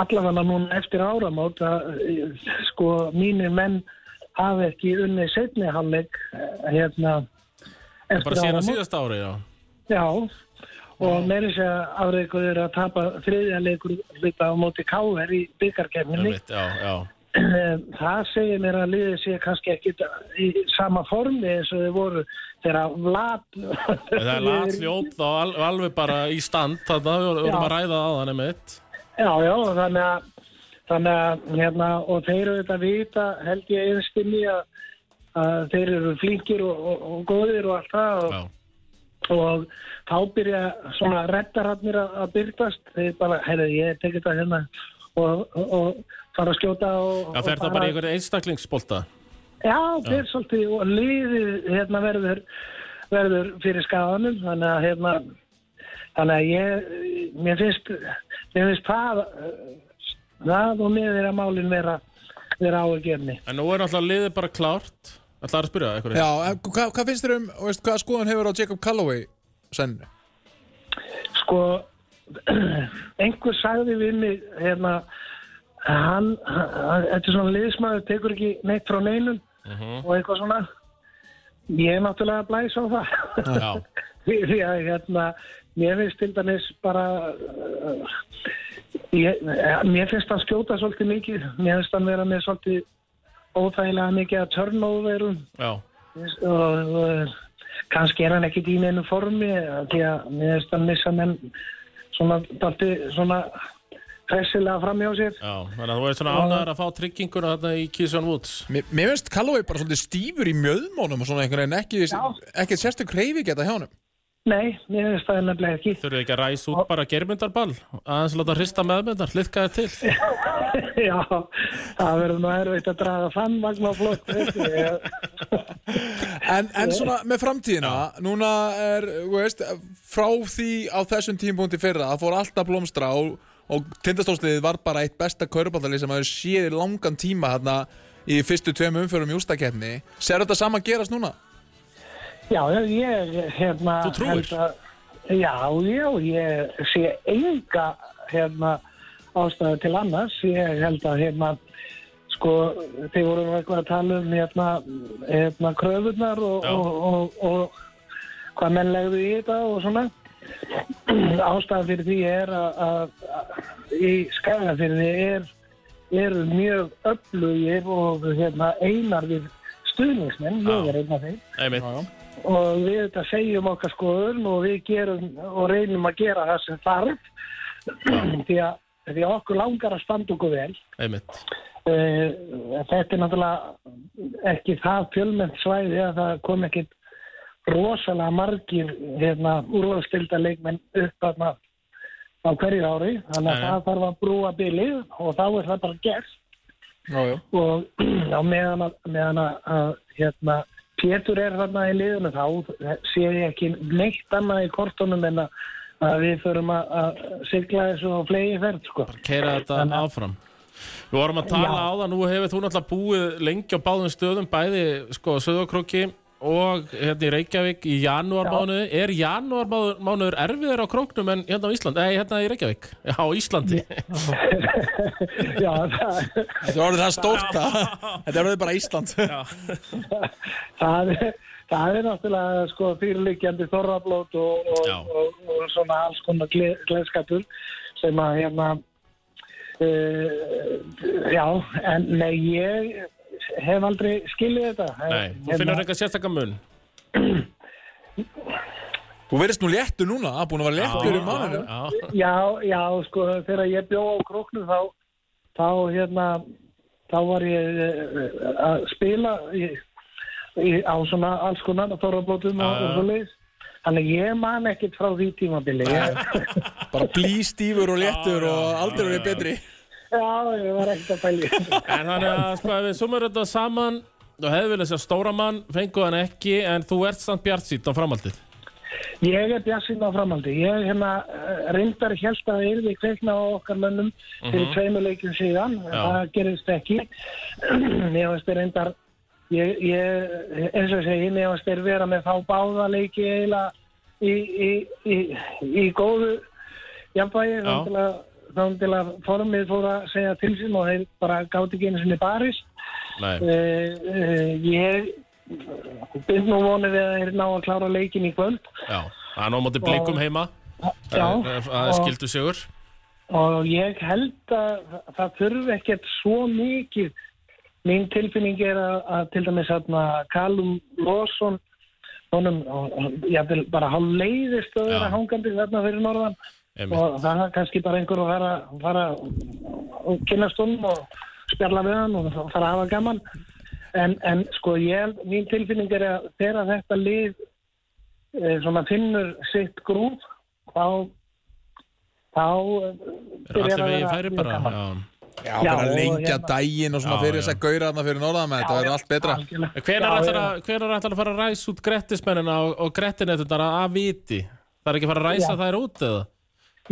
allavega núna eftir áramót að eh, sko mínir menn hafi ekki unni setni hálfleik eh, hérna eftir bara síðan á áramót. síðasta ári já Já, og meiri sér að afreikur eru að tapa þriðja leikur líka á móti Káver í byggarkefninni. einmitt já, já Það segir mér að liðið sé kannski ekki í sama formi eins og þau voru þegar Vlad... En Það er latsljóp þá al- alveg bara í stand þannig að við vorum Já. að ræða að hann einmitt Já, já, þannig að, þannig að hérna, og þeir eru þetta vita, held ég einstinni að, að þeir eru flinkir og, og, og góðir og allt það og, Já, og þá byrja svona rettararnir að að byrtast, þeir bara, heyrðu, ég tek þetta hérna og, og, og fara að skjóta og... já og fer það bara í einhverja einstaklingsbolta Já, fyrir svolítið og liðið hérna verður, verður fyrir skadanum þannig að hérna þannig að ég mér finnst, mér finnst það eh, það og mér er að málin vera, vera á að gefni En nú er náttúrulega liðið bara klárt Það er að spyrja eitthvað Já, en hvað, hvað finnst þér um, og veist, hvaða skoðun hefur á Jacob Calloway sennu? sko einhver sagði við mig hérna hann, hann- þetta er svona liðsmaður tekur ekki neitt frá neinum og eitthvað svona ég er náttúrulega að blæsa á það Já, því að hérna mér finnst til dæmis bara uh, ég, eh, mér finnst hann skjóta svolítið mikið mér finnst hann vera með svolítið óþægilega mikið að turnoverum já, og uh, kannski er hann ekkit í neinu formi eh, því að mér finnst hann missa menn svona, dalti, svona hressilega fram hjá sér já Þannig að þú er svona ánæður að fá trygginguna þarna í Kísjón Woods Mér, mér finnst Calloway bara svolítið stífur í mjöðmónum og svona einhvern veginn ekki, ekki sérstök reyfi geta hjá honum. nei, mér finnst það nefnilega ekki Þurfið ekki að ræsa út bara germyndarball aðeins láta hrista meðmyndar, liðka þér til já, það verður nú erfitt að draga þann vagn á flokk veistu, ég- En, en svona með framtíðina, núna er, þú veist, frá því á þessum tímpúnti fyrra, það fór alltaf blómstra og, og tindastóðsliðið var bara eitt besta kauruballari sem hafði séð í langan tíma hérna í fyrstu tveim umförum í ústakefni. Ser þetta sama gerast núna? Já, já, ég, hérna... Þú trúir? held að- Já, já, ég sé enga, hérna, ástæðu til annars. Ég held að, hérna, sko, þið voru nú eitthvað að tala um, hérna, hérna, kröfunar og, Já. og, og, og hvað menn legðu í þetta og svona. Ástæðu fyrir því er að, að, að í skæðafyrði er, eru mjög öflugir og, hérna, einar við stuðningsmenn, Já. ég er einn af þeim Einmitt, og við þetta segjum okkar skoðun og við gerum og reynum að gera það sem þarf því að, því að okkur langar að standa okkur vel einmitt uh, þetta er náttúrulega ekki það fjölmennt svæði að það kom ekki rosalega margir hérna, úrvarstilda leikmenn upp þarna á hverju ári þannig að Nei. það þarf að brúa bilið og þá er það bara gert Já, já. og á meðan að, meðan að, að hérna, Pétur er þarna í liðinu þá eh, sé ég ekki neitt annað í kortunum en að, að við förum að, að sigla þessu á flegi ferð sko. Keira þetta áfram Við vorum að tala á það, nú hefur þú náttúrulega búið lengi á báðum stöðum, bæði sko Söðokróki og hérna í Reykjavík í janúarmánuði. Er janúarmánuður erfiðir á króknum en hérna á Íslandi? Nei, hérna í Reykjavík. Já, á Íslandi. Já, það, Þetta er orðið það stórt að Þetta er orðið bara Ísland það, er- það er náttúrulega sko fyrirliggjandi þorrablót og, Já. og, og, og svona alls konar gle- gleðskapur sem að hérna uh, já, en nei, ég hef aldrei skilið þetta Nei, Hérna. þú finnur eitthvað sérstakka mun. Þú verðist nú léttur núna, það er búin að vera léttur í manninu Já, Já, já, sko, þegar ég bjó á króknu þá, þá hérna, þá var ég eh, að spila í, í, á svona alls konar þorrablótum og, Já, já. og svo leiðis. Þannig að ég man ekkert frá því tímabili. Ég, Bara blístífur og léttur og aldrei verið betri já, ég var ekkert að pæli. en þannig að sko, ef við sumur þetta saman og hefði viljað sér stóra mann, fenguð hann ekki, en þú ert samt bjart sýtt á framhaldið. Ég er bjassinn á framhaldi. Ég hérna eh, reyndar hélst að það yrði kveikna á okkar mönnum fyrir tveimur leikjum síðan. Mhm. Já. Það gerist ekki. Mér finnst þeir reyndar, ég, ég, eins og ég segi, mér finnst þeir vera með þá báða leiki eiginlega í, í, í, í góðu jafnvægi. Já. Þá til að- þá til að formið fór að segja til sín og þeir bara gáti ekki einu sinni barist. Nei, Uh, uh, ég byrð nú vonið við að þeir ná að klára leikin í kvöld. já. Það er nú á móti blikum heima. Eh, Já, Það er- það er og- skildu sigur. Og ég held að það þurfi ekkert svo mikið. Mín tilfinning er að, að til dæmis hérna Callum Lawson, honum, ég vil bara hálf leiðist að vera Já. hangandi þarna fyrir norðan Einmitt. og það er kannski bara einhver að fara, fara og kynast honum og spjalla við hann og fara að hafa gaman. En, en sko ég held, mín tilfinning er að þegar þetta lið eh, svona finnur sitt grúf, þá þá eh, Er allir vegið færi bara. Já. Já, Já, bara og lengja hérna- daginn og svona Já, fyrir já. þess að gauðra þarna fyrir norðan Þetta verður allt betra Hvenar ætlar að fara að ræsa út grettismennina og, og grettinettundar að viti? Það er ekki að fara að ræsa Já. þær út eða?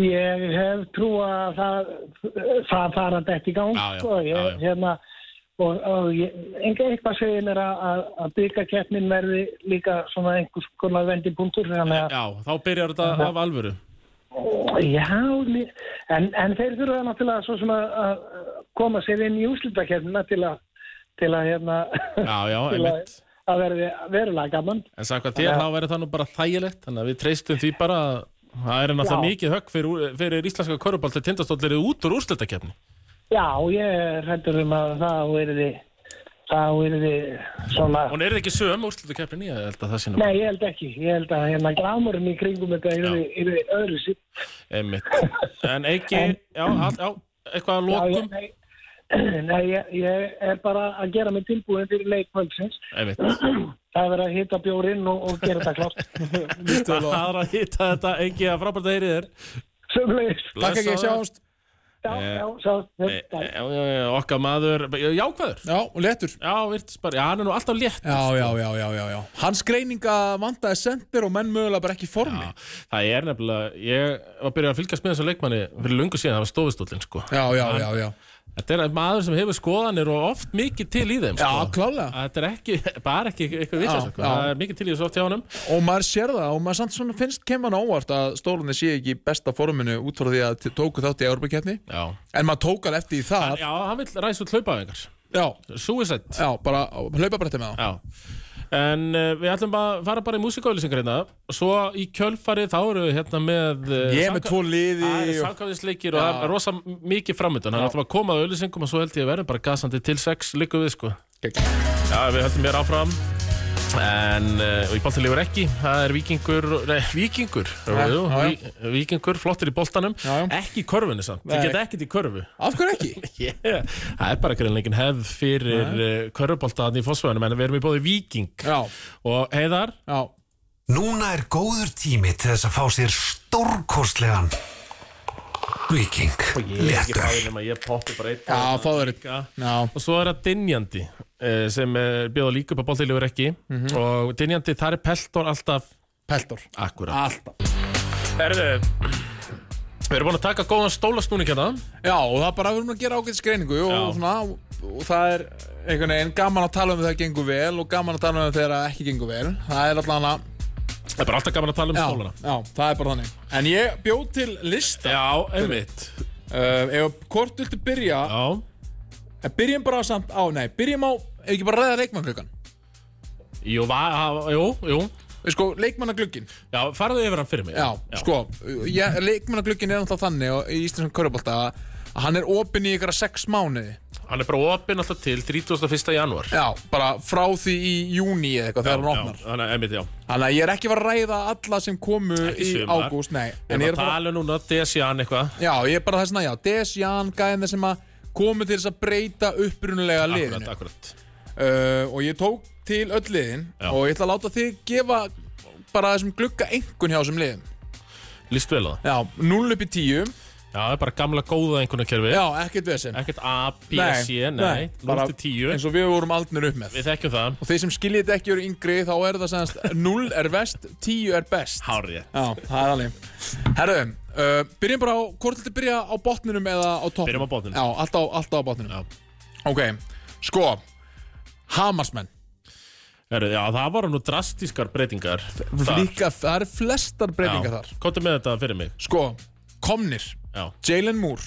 Ég hef trú að það, það fara þetta í gang Já, já, sko. ég, já, já. Hérna, og, og ég, einhver eitthvað segir mér að, að, að byggakeppnin verði líka svona einhvers konar vendipunktur þannig að Já, þá byrjar þetta af alvöru. já, li- en, en þeir þurfa náttúrulega svo sem að, að koma sér inn í úslitakeppnina til að til að hérna Já, já, til að, einmitt. að verði verulega gaman En sagði hvað þér, þá verður það nú bara þægilegt. Þannig að við treystum því bara að það er náttúrulega Já. mikið högg fyrir, fyrir íslenska korrupál til tindastóllir út úr úrslutakefni. Já, ég hættur um að það verði það verði svona Hún er ekki söm úrslutakefni, ég held að það sé nú. Nei, ég held ekki. Ég held að hérna glámurinn í kringum þetta yrði, yrði öðru sér. Einmitt. En ekki, En- já, all, já, eitthvað að lokum. nei, nei ég, ég er bara að gera mig tilbúin fyrir leikvöldsins. Einmitt. Það er verið að hita bjórinn og, og gera þetta klárt. Það er að hitta þetta, ekki að frábært að heyri þér. Sumleis. Takk ekki, Blessaður. sjáumst Já, já, sá. E- e- Já, já, já, okkar maður, jákvæður Já, og léttur Já, virtist bara, já, hann er nú alltaf létt Já, já, já, já, já, já Hans greininga vandaði sendir og menn mögulega bara ekki í formi Já, Það er nefnilega, ég var byrjað að fylgjast með þessu leikmanni fyrir lungu síðan, það var stofustóllin sko. Já, já, já, já Þetta er maður sem hefur skoðanir og oft mikið til í þeim Já, sko. klálega Að Þetta er ekki, bara ekki eitthvað vitlega Já, sko. já. Það er mikið til í þessu oft hjá honum Og maður sér það og maður samt svona finnst kemur hann óvart að stólunni sé ekki í besta forminu út frá því að t- tóku þátt í Európa-keppni Já, En maður tókar eftir í það já hann vill ræsa út hlaupaðingar Já, Suicide já, bara hlaupa bara til með það Já En uh, við ætlum bara að fara bara í músikauðlýsingar hérna og svo í kjölfarið þá eru við hérna með uh, Ég er með tvo liði Það er og- samkvæðisleikir og það er rosa mikið framöndan Þannig ætlum að koma að auðlýsingum og svo held ég að verðum bara gasandi til sex Liggu við sko Já, við höldum mér áfram En uh, í boltan lífur ekki Það er vikingur Nei, vikingur Já, jú, já, já. ví- Vikingur, flottir í boltanum Já, já. Ekki í körfunni samt Þið Nei. geta ekkert í körfu Af hverju ekki? Yeah. Það er bara greinleikin hefð fyrir uh, körfuboltaðan í fósfæðunum en við erum í bóði viking Já, og heiðar já Núna er góður tími til þess að fá sér stórkostlegan Viking Léttur nema ég poppi bara einn Já, fáður eitt Líka. Já, og svo er það Dinjandi eh, sem er bjóða líka upp á boltilegur ekki Mhm. og Dinjandi þar er Peltor alltaf Peltor akkurat Alltaf Herðu Við erum búin að taka góðan stólasnúning hérna Já, og það er bara við erum að gera ágætis greiningu og, Já. svona, og, og það er einhvern veginn gaman að tala um þegar það gengur vel og gaman að tala um þegar það ekki gengur vel það er allan að Það er bara alltaf gaman að tala um já, stólana já, það er bara þannig En ég bjóð til lista Já, einmitt uh, Ef hvort viltu byrja Já, En byrjum bara samt á, nei, byrjum á Ef ekki bara ræða leikmannklukkan jú, va, ha- jú, jú Við sko, leikmannaglugginn Já, farðu yfir hann fyrir mig Já, sko, ég, leikmannaglugginn er náttúrulega þannig og, í Íslandsum Körbólta að hann er opinn í ykkur að sex mánuði Hann er bara opinn alltaf til 31. janúar Já, bara frá því í júni eða eitthvað þegar hann opnar Já, þannig, einmitt, já Þannig að ég er ekki að fara að ræða alla sem komu Ekki í sumar. ágúst, nei Við En erum að ég er bara, tala núna, Desjan eitthvað já, ég er bara þess að, já, Des, Jan, Gæðin sem að komu til þess að breyta upprunulega Akkurat, liðinu uh, akkurat Og ég tók til öll liðin Já. og ég ætla að láta þig gefa bara þessum glugga einhvern hjá þessum liðin Lýst vel á það Já, 0 upp í 10, Já, það er bara gamla góða einhvern kerfi já, ekkert vesen Ekkert A, B, C, nei, 0 bara til 10 Eins og við vorum aldnir upp með Við þekkjum það Og þeir sem skiljið þetta ekki eru yngri þá er það sannast 0 er vest, 10 er best Hárið Já, það er alveg Herru, uh, byrjum bara á, hvort þetta byrja á botninum eða á toppnum? Byrjum á botninum. Já, alltaf, á- alltaf á botninum Já. Ok, sko Hamasmenn Heru, Já, það voru nú drastískar breytingar þar. Líka, það eru flestar breytingar Já. þar Komdu með þetta fyrir mig Sko, Komnir Já, Jalen Moore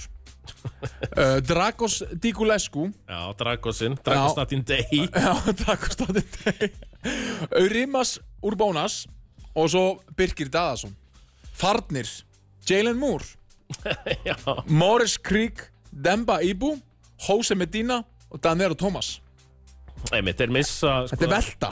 uh, Dragos Dikulescu já Dragosinn, Dragostatin Day Já, Dragos Dottir Rimas Urbónas Og svo Birgir Daðason Farnir Jalen Moore Já, Morris Creek, Demba Ibu Jose Medina og Danero Thomas einmitt, þeir missa sko, Þetta er velta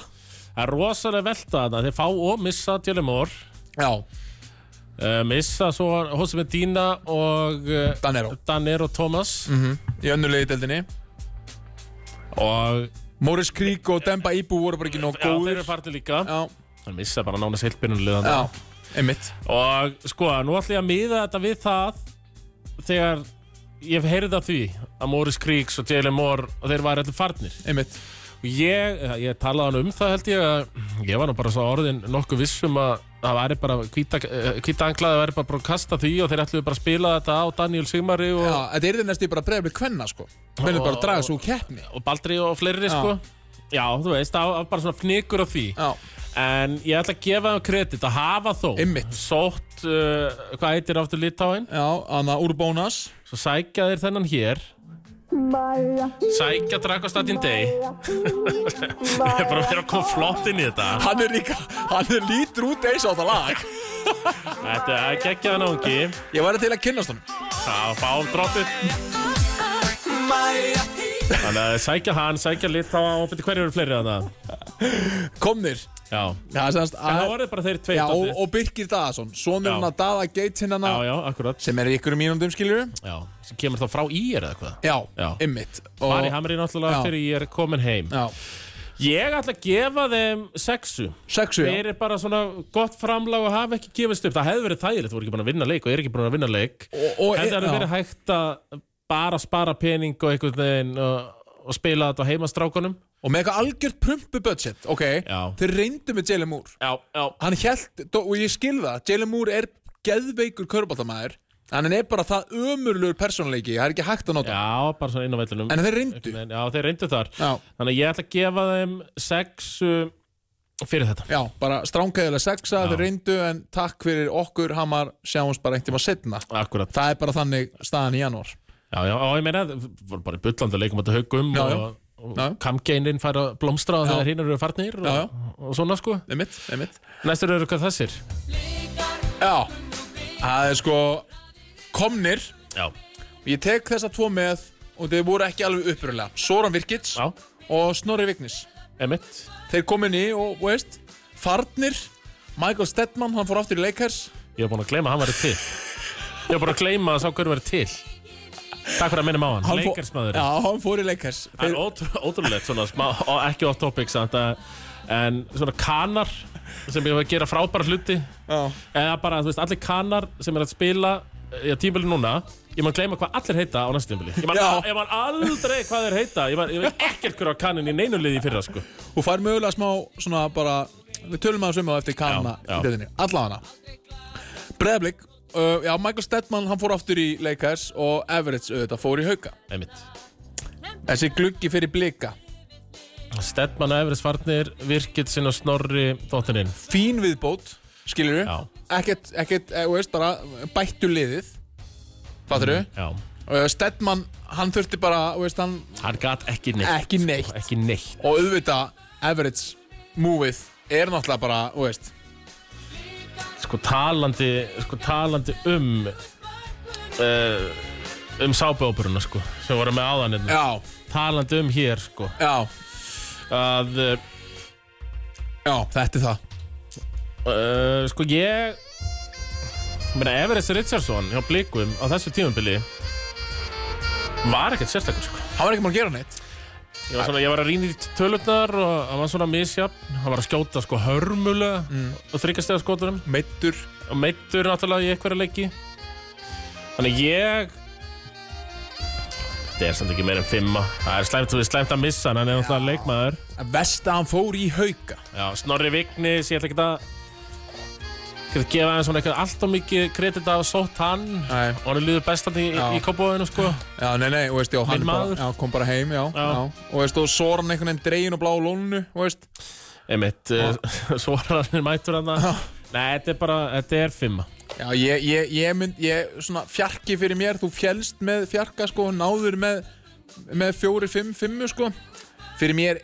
Það er rosalega velta þarna, þeir fá og missa Tjölemór Já, uh, Missa svo Hossi Medina og uh, Danero Mm. Mhm, Danir og Thomas Í önnulegi deildinni og Morris Creek og Demba Ibu voru bara ekki nóg já, þeir góðir eru farnir líka Já, Hann missa bara nánast heilt byrjunlið já, einmitt og sko, nú ætla ég að miða þetta við það þegar ég hef heyrði af því að Morris Creeks og Jalen Moore og þeir væri allir farnir Einmitt og ég, ég talaði hann um það held ég að ég var nú bara svo orðin nokkuð vissum að það væri bara eh, hvítanklaði væri bara bara að kasta því og þeir ætluðu bara að spila þetta á Daniel Sigmari og, Já, þetta er þetta næstu bara breyfli kvenna sko Hvernig bara að draga svo úr keppni og Baldri og fleiri sko já, þú veist, það var bara svona fnikur á því Já, en ég ætla að gefa þeim kredit að hafa þó Einmitt. sótt, uh, hvað heitir aftur litáin já, Anna Urbónas Svo sækja þeir þennan hér Sækja Dragostatin Day Við erum bara að vera að koma flott inn í þetta Hann er líka, hann er lítur út eins á það lag Þetta er geggjaðan ángi Ég væri til að kynnast hann Það fá droppið Þannig að sækja hann, sækja lit Þá ábyrði hverju eru fleiri þannig Komnir Já, Já, semast það voru bara þeir tveit Já, og, og Birgir Daðason Sonur Já. hann að Daða Geitinn hann já, já, akkurat sem er í ykkur mínúndum skilur Já, sem kemur þá frá ír eða hvað já, Já. ymmit Mari Hamri náttúrulega Já. fyrir ég er komin heim já, Ég ætla að gefa þeim sexu sexu já. Þeir eru bara svona gott framlag og hafa ekki gefist upp. Það hefði verið þægilegt, þú voru ekki búin að vinna leik og er ekki búin að vinna leik. Og- og- hefði það já. verið hægt að bara spara pening og einhvern veginn og, og spila þetta á heimastrákunum. og með eitthvað algjört prumpu budget ok, Já. þeir reyndu með Jalen Moore Já, já. hann held, og ég skil það Jalen Moore er geðveikur körbáttamæður en hann er bara það ömurlegur persónuleiki það er ekki hægt að nota Já, bara svona inn á vellunum. en þeir reyndu, En, já, þeir reyndu þar. Já. Þannig að ég ætla að gefa þeim sex uh, fyrir þetta. já, bara stránkæðilega sexa Já. þeir reyndu en takk fyrir okkur hamar sjáumst bara einhverjum að setna Akkurat. það er bara þannig staðan í janúar Já, já, og ég meina, það voru bara í bullandi að leikum að haugum Já, já. og, og Já. kamgeinin fær að blómstra og Já. þegar hinn eru farnir og, Já, já. og svona sko. ymmit, ymmit Næstur eru hvað þessir. já, það er sko komnir Já. Ég tek þessa tvo með og þeir voru ekki alveg upprunalega Soran Virkits Já, og Snorri Vignis emitt Þeir komin í og, og veist, farnir Michael Stedman, hann fór aftur í Lakers Ég var búin að gleyma að hann væri til Ég var búin að gleyma að sá hverju væri til Takk fyrir að minnum á hann, Hann fór- leikarsmaður Já, hann fór í Lakers Það er þeir, ótrú- ótrúlegt svona smá, og ekki off topic samt að En svona kanar sem ég var að gera frábæra hluti já, Eða bara, þú veist, allir kanar sem er að spila eh, í tímbili núna Ég man gleyma hvað allir heita á næstu tímbili Ég man, Já. ég man aldrei hvað þeir heita Ég, man, ég veit ekkert hverju á kanin í neinu liði í fyrra sko Og fær mögulega smá svona bara Við tölum að svima um á eftir kanna Já, já. í deðinni Alla hana Breðablik, uh, já, Michael Stedman, hann fór aftur í Lakers og Everett auðvitað fór í hauka einmitt. Þessi gluggi fyrir blika Stedman og Everest farnir, Virkitsin og Snorri Dóttirinn Fín viðbót, skilur Já. Ekkert, ekkert, eh, þú veist, bara bættu liðið Fattur mm. Já, uh, Stedman, hann þurfti bara, þú veist, hann hann gat ekki neitt Ekki sko, neitt. Ekki neitt Og auðvitað, Everett's múið er náttúrulega bara, þú veist Sko talandi, sko, talandi um uh, um sábeóperuna sko, sem voru með áðan hérna. Já, talandi um hér sko já, að uh, já, þetta er það Uh, sko ég ég meina Everest Richardson hjá Blikum á þessu tímabili var ekkert sérstakur sko. Hann var ekki maður að gera neitt ég var, svona, ég var að rýna í tölutnar og hann var svona misjafn hann var að skjóta sko hörmulega Mm. og þryggjastega skoturum Meittur og meittur náttúrulega í einhverja leiki þannig ég þetta er samt ekki meira en fimma það er slæmt, það er slæmt að missa hann hann er náttúrulega leikmaður Vest að hann fór í hauka Já, Snorri Vignis, ég ætla ekki að ekki að gefa hann svona eitthvað allt og mikið kredit að hafa sótt hann Nei. og hann er liður bestan í, Já. í kópavöðinu sko Já, nei, nei, og veist, já, hann Minn bara, maður. já, kom bara heim, já, já. Já. Og veist, og svo er hann einhvern veginn dregin og blá lónu, veist einmitt, uh, svo er hann er mætur hann Nei, þetta er bara, þetta er fimma Já, ég, ég, ég mynd, ég, svona, fjarki fyrir mér, þú fjælst með fjarka, sko, náður með, með fjóri, fimm, fimmu, sko Fyrir mér,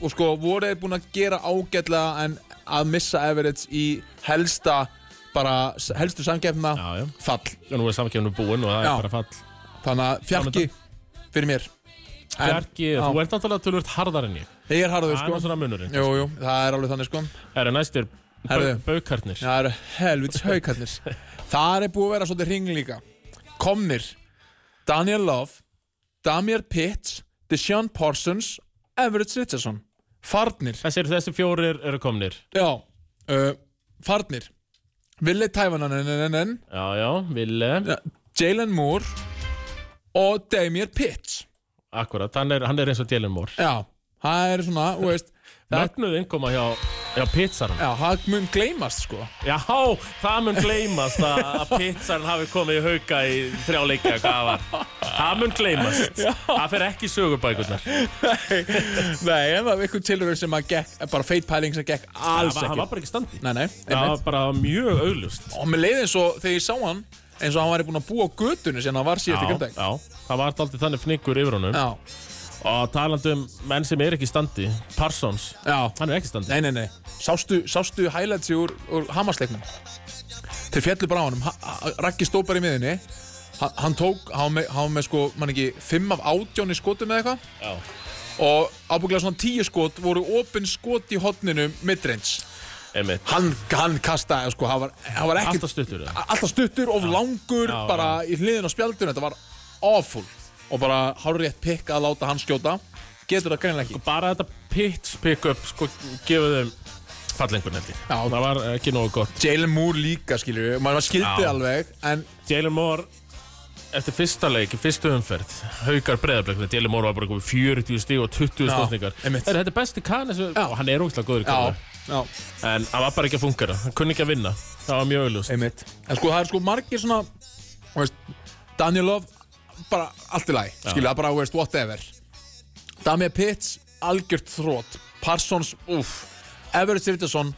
og sko, voru þeir búin að gera ágætlega en að missa Everett í helsta, bara, helstu samgefna Já, já, fall og nú er samkefnum búinn og það Já. er bara fall Þannig að fjarki fyrir mér En Bjarki, já. þú ert náttúrulega tölvöld harðar en ég Ég er harður, Það er nú sko svona munurinn Jú, jú, það er alveg þannig, sko Það eru næstir Herðu. baukarnir Já, það eru helvits haukarnir Þar er búið að vera svolítið hring líka Komnir Daniel Love, Damir Pitts Deshaun Parsons Everett Richardson Farnir Þessi, eru- þessi fjórir eru komnir Já uh, Farnir Ville Tævanan Já, já, Ville, Jalen Moore Og Damir Pitts akkurat, hann er, hann er eins og Dylan Moore Já, það er svona, þú veist það, Mögnuð innkoma hjá, hjá pizzaran Já, það mun gleymast sko Já, það mun gleymast að að pizzan hafi komið í hauka í þrjá leikja hvað það var. Það mun gleymast. Það fer ekki í sögubækurnar. Nei, en það var einhver tilhörur sem að gekk Bara feit pæling sem gekk Það var- alls það ekki var bara ekki standi. Nei, nei, Það var bara mjög auglust. og mér leiði eins og þegar ég sá hann eins og hann væri búinn að búa á götunni sem hann var síðast í göndag já, það var alltaf þannig fningur yfir honum. já, Og talandi um menn sem er ekki í standi, Parsons, já, hann er ekki í standi. nei, nei, nei sástu, sástu highlights í úr, úr Hamasleiknum þeir fjallu bara á honum Ha- ha- Raggi stóð bara í miðinni hann, hann tók, hann var með, hann var með sko mann ekki, 5 af 18 í skotum eða eitthvað Já. og ábygglega svona 10 skot voru opin skot í hotninu midrange Einmitt. hann, hann kastaði sko, hann var, hann var ekkert Alltaf stuttur það. alltaf stuttur of langur Já, bara í hliðin á spjaldun þetta var awful og bara hárétt pikk að láta hann skjóta getur það greinilega ekki Bara þetta pitch pick-up, sko, gefið þeim fallengur nefndi. Já. Það var ekki nógu gott. Jalen Moore líka skilur við maður skildi Já. alveg en Jalen Moore eftir fyrsta leik, í fyrstu umferð haukar breðablik, þegar Jalen Moore var bara komið 40 stíg og 20 Já, stóðningar einmitt. þetta er besti kanni sem, Já. og hann er ógæslega góður í já, kanni já, en hann var bara ekki að fungera, hann kunni ekki að vinna það var mjög auðlust einmitt en sko það er sko margir svona þú veist, Daniel Love bara allt í lagi skilur það bara þú veist, whatever Damir Pitts algjört þrótt Parsons uff Everett Sivitason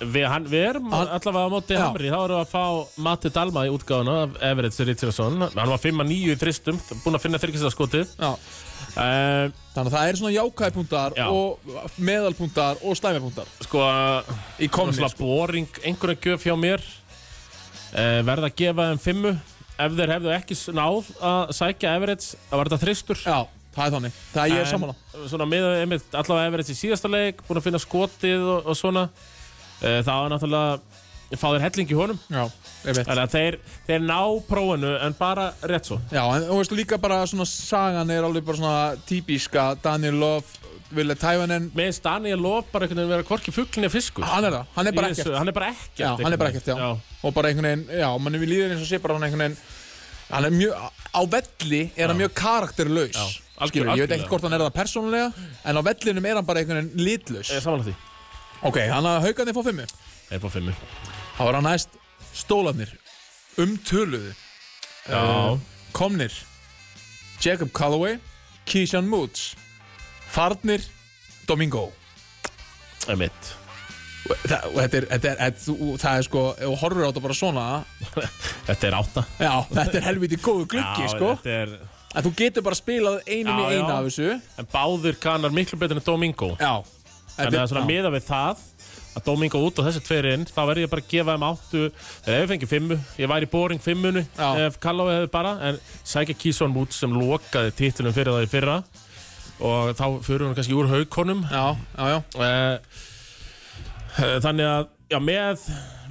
Vi, hann, við erum Hann- allavega á móti Já. Hamri, þá erum við að fá Matti Dalma í útgáðuna af Everett Richardson hann var 5-9 í þristum, búinn að finna þyrkistaskoti já uh, Þannig að það er svona jákæðpuntar Já. og meðalpuntar og slæmipuntar sko í komni svona sko. boring, einhverja gjöf hjá mér uh, verða að gefa þeim fimmu ef þeir hefðu ekki s- náð að sækja Everett, það var þetta þristur Já, það er þannig, það er ég En, samanlega Svona miða einmitt allavega Everett í síðasta leik Búin að finna skotið og, og svona Eh, Það var náttúrulega Fá þér helling í honum Já, einmitt Þannig að þeir, þeir ná prófinu en bara rétt svo Já, en þú veist líka bara svona sagan er alveg bara svona típiska Daniel Love, Ville Tævanen Með Daniel Lóf bara einhvern veginn vera korki fuglinni fiskur Ah, Hann er það, hann er bara Í þessu- ekkert Hann er bara ekkert Já, hann er bara einhvern ekkert, já. veginn. Og bara einhvern veginn, já, mann við líður eins og sé bara hann einhvern veginn Hann er mjög, á velli er hann mjög karakterlaus Já, algjör- Skilur, ég veit algjörlega. ekkert hvort hann er það persónulega En á vellinum er hann bara einhvern veginn litlaus Ég er samanlega því Ok, hann að haugarnir fór fimmu Ég er bara fimmu Það var hann næst stólanir umtöluðu Já, komnir Jacob Calloway, Keyshawn Moods farnir Domingo emitt Þa, og þetta er, þetta er, þetta, þú- það er sko ef þú horfir á þetta bara svona Þetta er átta já, þetta er helviti góðu gluggi Já, sko þetta er en þú getur bara spilað Já, einum í já. eina af þessu já, En báðir kanar miklu betur en Domingo þetta Þannig að svona já. miða við það að Domingo út og þessi tveir inn þá verði ég bara að gefa þeim áttu eða ef ég fengi fimmu, ég væri í boring fimmunu Já. ef Kallói hefði bara en sækja Kísson út sem lokaði títlunum fyrir það í fyrra og þá fyrir hún kannski úr haukonum já, já, já, Eh, eh, Þannig að já, með,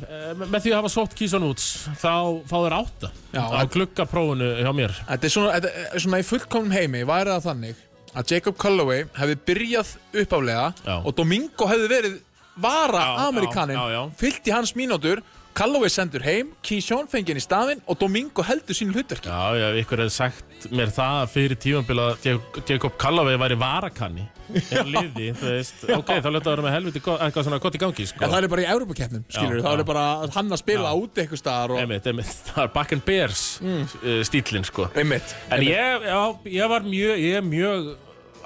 eh, með því að hafa sótt Kísson út þá fá þeir átta Já. á gluggaprófunu hjá mér þetta er svona, þetta er svona í fullkomnum heimi væri það þannig að Jacob Calloway hefði byrjað uppálega Já. og Domingo hefði verið vara Já, já, já, já. Amerikanin fyllt í hans mínútur Calloway sendur heim, Keyshawn fengið í staðinn og Domingo heldur sín hlutverki Já, já, ykkur hefði sagt mér það fyrir tímanbíl að Jacob- Jacob Callavey væri varakanni eða liði, þú veist, ok, þá leta það vera með helviti gott- eitthvað svona gott í gangi, sko En það er bara í Európa-keppnum, skilur, Já, það já. er bara að hann að spila út eitthvað staðar og Einmitt, einmitt, það er Back and Bears mm. stílinn, sko einmitt, En ég, já, ég var mjög, ég er mjög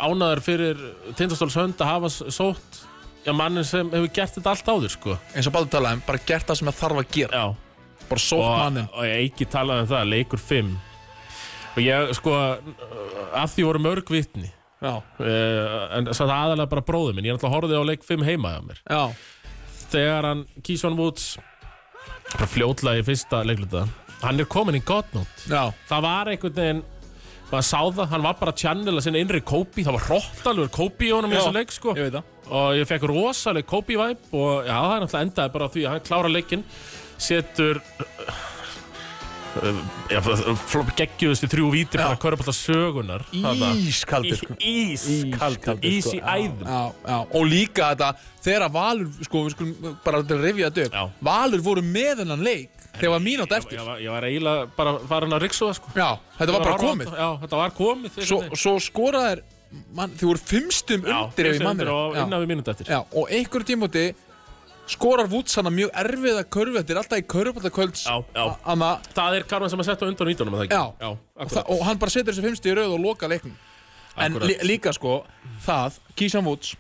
ánæður fyrir Tindastóls hönd að hafa s- sótt já, mannin sem hefur gert þetta allt áður, sko eins og Baldur talaði, um, bara gert það sem það þarf að gera, Já, bara sótt og, mannin og ég ekki talaði um það, leikur 5 og ég, sko, af því voru mörg vitni Já, uh, en það er aðalega bara bróðið minn ég er náttúrulega horfið á leik 5 heima hjá mér já, þegar hann Keyshawn Woods bara fljótlega í fyrsta leikluta hann er komin í godnót já, það var einhvern veginn maður sá það, hann var bara að channela sinna innri Kobe, það var hróttalur Kobe í honum í Já, þessu leik sko ég veit það og ég fekk rosaleg Kobe væp og já, það er náttúrulega endaði bara á því að hann klára leikinn setur uh, uh, geggjuðustu þrjú víti bara körpallta sögunar Ískaldur sko. Ís, kaldur, ís í æðum já, já. og líka þetta þegar að Valur, sko, við skulum bara til að rifja þetta Já. upp, Valur voru með hennan leik þegar var mínútt Ég, eftir var- ég var eiginlega bara farin að riksuða sko. já, þetta var bara komið Já, þetta var komið svo, svo skoraðir, mann, þið voru fimmstum undir ef ég mann mannir Og rétt. innan við mínúti eftir já, og einhverjum tímúti skorar Vútsana mjög erfiða körfu þetta er alltaf í körfballakölds Já, já. Anna, Það er Karman sem að setja undan ítunum já, já og, akkurat. það, og hann bara setur þessu fimmstu í rauð og loka leiknum en Akkurat. lí, líka sko, það Kísan Woods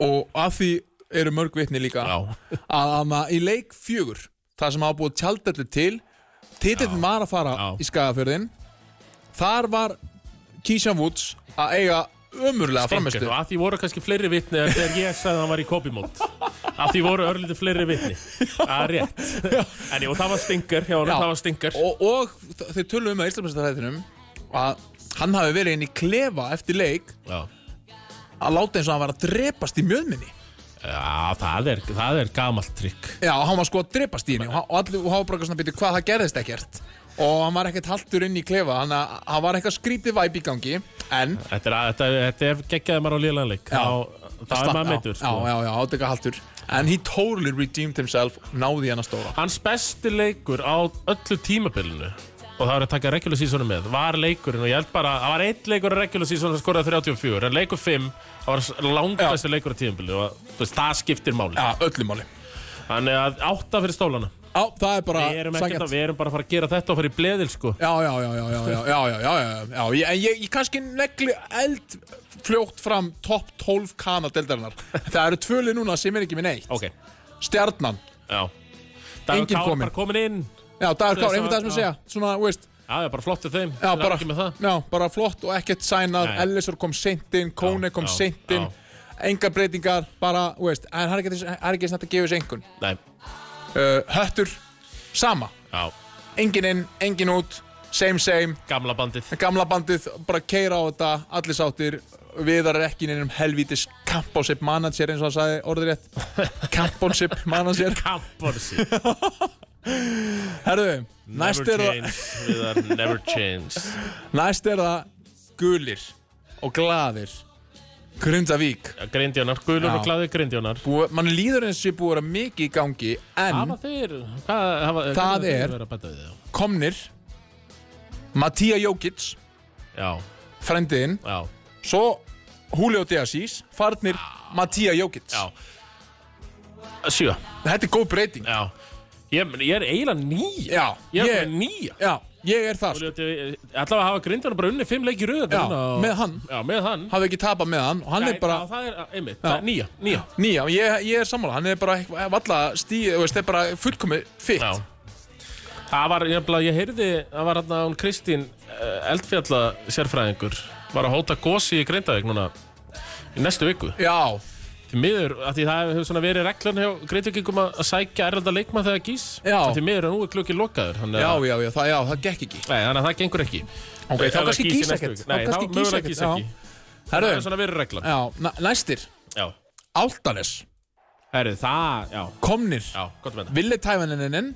og af því eru mörg vitni líka Já. að hana, í leik fjögur það sem hafa búið tjaldellu til titillin var að fara Já. í skagafjörðin þar var Kísan Woods að eiga ömurlega Einhver, framistu og að því voru kannski fleiri vitni en þegar ég sagði að hann var í kopimót að því voru örlítið fleiri vitni að rétt en jú, það var stingur, já, Já. það var stingur og, og þ- þeir tölum um að Íslandsmestarhættinum að hann hafi verið inn í klefa eftir leik já. að láta eins og hann var að drepast í mjöðminni já, það er, það er gamalt trikk Já, hann var sko að drepast í henni og, hann- og allir og hafa bara eitthvað svona býtið hvað það gerðist ekkert og hann var ekkert haltur inn í klefa hann, hann var eitthvað skrítið væp í gangi en Þetta er, að- þetta, þetta er geggjaði maður á lélanleik Já. þá er Slapp- maður já, meitur sko. Já, já, já, átt eitthvað haltur en he totally redeemed himself náði hann að stóra Hans besti leikur á öllu tímabilinu og það er að taka regular seasonu með var leikurinn og ég held bara það var einn leikur á regular seasonu sem skoraði 34 en leikur 5 það var langbæsti leikur á tímabilinu og þú veist, það skiptir máli Já, öllu máli þannig að átta fyrir stólana Já, það er bara við erum, ekkert sanngjarnt. að, við erum bara að fara að gera þetta og fara í bleðil sko Já, já, já, já, já, já, já, já, já, já, já, já, en ég, ég kannski negli eld fljótt fram topp 12 kana deildarinnar. Það eru tvöli núna sem er ekki minn eitt. ok, Stjarnan, já Dagur Enginn Kár kominn. bara komin inn já, Dagur Kár, einhvern Já. dag sem ég segja, svona, þú veist, já, já, bara flottu þeim já, Þeir eru bara, ekki með það. já, bara flott og ekkert sænað, Nei. Ellisor kom seint inn, Kone kom já, seint inn, já. enga breytingar, bara, þú veist, en það er ekki- það er ekki snart að gefa þessu engun. Nei, Uh, höttur, sama, já, engin inn, engin út, same, same, gamla bandið gamla bandið bara keira á þetta allir sáttir viðar er ekki neinum helvítis kampónsip manager eins og hann sagði orðið rétt kampónsip manager Kamporsi herðu, næst Never er, það, change Viðar, Never change næst er það gulir og glaðir Grundavík Já, Grindjónar, gulur Já. og glæði grindjónar Búi, mann líður eins og ég búið að vera mikið í gangi en Hafa þeir hvað, hafa, Það hvernig er- þeir verið að bæta við þá? komnir Mattia Jókits Já, frendiðinn, já, svo Julio De Assis, farnir Mattia Jókits já Sjö, þetta er góð breyting já Ég, ég er eiginlega nýja Já, Ég er ég- bara nýja Já, ég er það sko. Alltaf að hafa grindana bara unni fimm leikir röð Já, með hann. Já, með hann Hafði ekki tapað með hann og hann er bara Já, það er, einmitt, það er nýja, nýja nýja ég, ég er sammála, hann er bara eitthvað- valla stíð, það er bara fullkomið fitt Já Það var, ég, ég heyrði, það var hérna hún Kristín eh, eldfjalla sérfræðingur var að hóta gósi í Grindavík núna í næstu viku Já, Því miður, að því það hefur svona verið reglan hjá Grindavíkingum að að sækja erlanda leikmann þegar gís Já. Að Því miður, að nú er klukki lokaður þannig já, að, já, já, það, já, það gekk ekki nei, þannig að það gengur ekki Ef Ok, þá það kannski gýs í gís næstu ekkert, viku. þá Nei, kannski þá gís mögulega ekkert, gís já. ekki Það er Herðu, svona verið reglan já, næ- næstir Já, Áltanes, herri, það, já, Komnir já, gott með það Ville Tævaneninen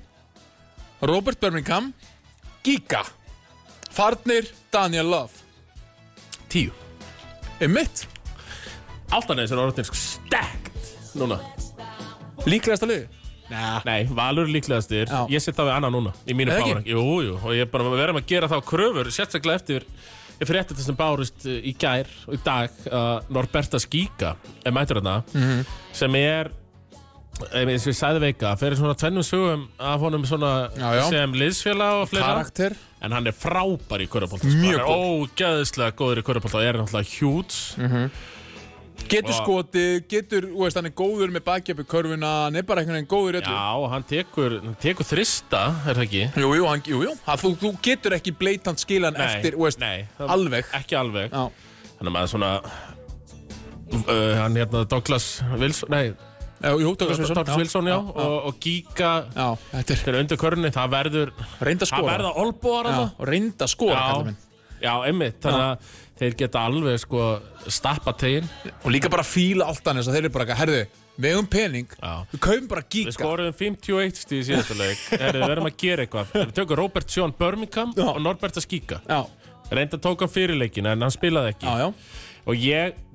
Robert Birmingham Giga Farnir Daniel Love Tíu er mitt Áltaneins er orðin sko stekt núna líklegasta liði Nei, Valur líklegastir Já. Ég set það við annað núna Í mínu Eða ekki? báring Jú, jú Og ég er bara að vera með að gera þá kröfur Sérstaklega eftir Ég fyrir eftir þessum bárist uh, í gær og í dag að Norberta Skíka er mættur hérna Mhm. sem er eh, eins og ég sæði veika fyrir svona tvennum sögum af honum svona Já, já. sem liðsfélag og fleira karakter en hann er frábær í körubólta Mjög hann er ógæðislega góður í körubólta og er náttúrulega hjúts Mhm. getur Og- skotið, getur, þú veist, hann er góður með bakjöpi körfuna, hann er bara einhvern veginn góður í öllu. Já, og hann tekur, hann tekur þrista er það ekki? Jú, jú, hann, jú, jú. Hann, þú, þú getur ekki bleitant skilan Nei, eftir, þú veist, nei, það- alveg. Ekki alveg Já, Þannig að maður svona uh, Hann hérna Douglas Wilson Nei, Já, jú, Douglas Wilson. Douglas Wilson já, og, og Giga Já, þetta er Þeir eru undir körunni, það verður reynda Það skora. verða olbúar Já, að og reynda skora, kallar það minn. Já, einmitt Þannig að þeir geta alveg sko Stappa tegin Og líka bara fíla allt annars að þeir eru bara, eitthvað, herðu, við hefum pening, Já. við kaupum bara Við gíka. skorum 51 stíð í síðasta leik Herri, Við verðum að gera eitthvað Við tökum Robert Sjón Birmingham Já. og Norbert að skíka Já, Reynda tók hann fyrirleikin en hann spilaði ekki já, já. Og ég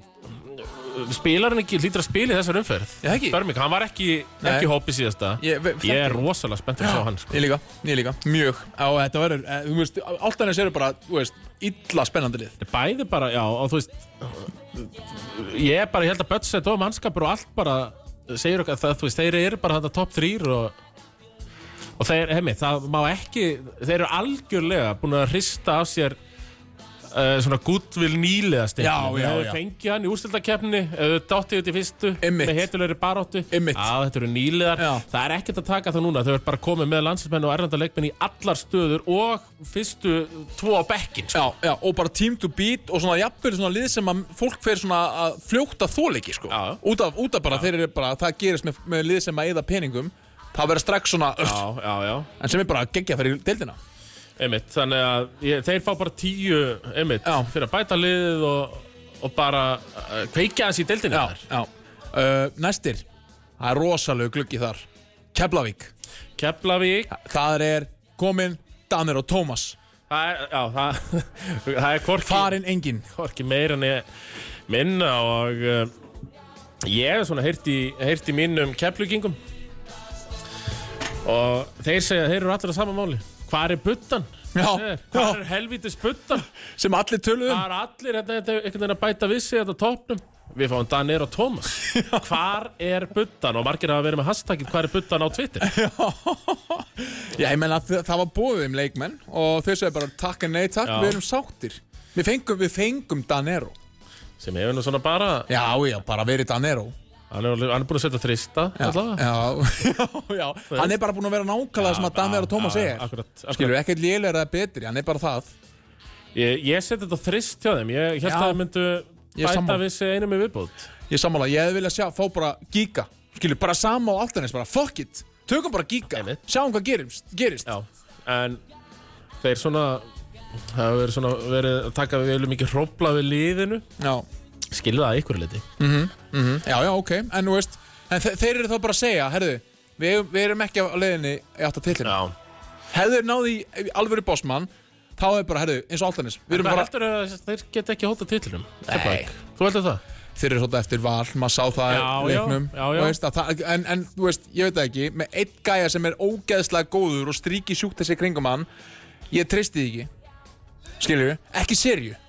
Spilar hann ekki, hlýtur að spila í þessar umferð Já, ekki. Börming, hann var ekki, Nei. ekki hópi síðasta Ég- við- ég er rosalega spennt að sjá hann sko. Ég líka, ég líka, mjög. Og þetta verður, eh, þú veist, allt annars eru bara, þú veist, illa spennandi lið. Bæði bara, já, og þú veist Ég er bara, ég held að Bötset og mannskapur og allt bara segir okkar það, þú veist, þeir eru bara þetta topp þrýr og, og þeir, hemmi, það má ekki þeir eru algjörlega búin að hrista af sér uh, svona gútvill nýlega Já, já, já. fengið hann í úrstildakeppni dáttið út í fyrstu Einmitt. með heitulegri baróttu Einmitt. Já, þetta eru nýlegar Já. það er ekkert að taka það núna þau eru bara komið með landsinsmenn og erlenda leikmenn í allar stöður og fyrstu tvo á bekkin sko. Já, já, og bara team to beat og svona jafnvel svona lið sem að fólk fer svona að fljóta þóleiki, sko. Já. Út af, út af bara, þeir eru bara, það gerist með, með lið sem að eyða peningum, það verður strax svona, öll, já, já, já en sem er bara geggja fyrir deildina. Einmitt, þannig að ég, þeir fá bara tíu einmitt, Já. fyrir að bæta liðið og, og bara uh, kveikja hans í deildinu Já, já. Uh, næstir, það er rosalegu gluggi þar. Keflavík, Keflavík það er komin Danir og Tómas, það er, já, það, það er hvorki, farin engin. hvorki meira en ég minna og uh, ég hef svona heyrt í, heyrt í mínum keflugingum og þeir segja þeir eru allir á sama máli Hvar er buttan? Já, Hvar já, er helvítis buttan? sem allir um. töluðum. Það er allir hérna, hérna, einhvern veginn að bæta við sig þetta á topnum Við fáum Danir og Thomas Hvar er buddan? Og margir hafa verið með hashtagið Hvar er buddan á Twitter? Já, ég menna það, það var bóðið um leikmenn og þau sagði bara takk en nei takk, Já. við erum sáttir. Við fengum, við fengum Danero. Sem hefur nú svona bara Já, já, bara verið Danero. Hann er, alveg- hann er búin að setja þrista Já, allavega já, já, hann er bara búinn að vera nákvæmlega sem að Danero Tómas já, er. akkurat, akkurat. Skilur, ekkert lélega eða betri, hann er bara það. Ég, ég setja þetta þrist hjá þeim Ég held Já. að þeir myndu Ég er bæta sammála. við sig einu með viðbútt Ég sammála, ég hefði viljað sjá, fá bara Giga. Skilur, bara sama á alltaf bara fuck it, tökum bara Giga, Einmitt. sjáum hvað gerist. gerist. Já En þeir svona Það hefur verið svona verið að taka við viljum mikið hrópla við liðinu já, Skilja það að ykkur liti já, já, ok, en þú veist, en þe þeir eru þá bara að segja, herðu, við, við erum ekki á leiðinni í átt að tillinu. Já hefðu þeir náði í alvöru bossmann þá hefur bara, herðu, eins og Altanis við erum Hvað bara, heldur að þeir geta ekki hóta titlunum? Nei. Þú heldur það? þeir eru svolítið eftir val maður sá það Já, í leiknum já, já, já. og Veist, að, það- en, en, þú veist, ég veit það ekki með einn gæja sem er ógeðslega góður og stríki sjúkt þessi kringum hann ég treysti því ekki skilur við, ekki serju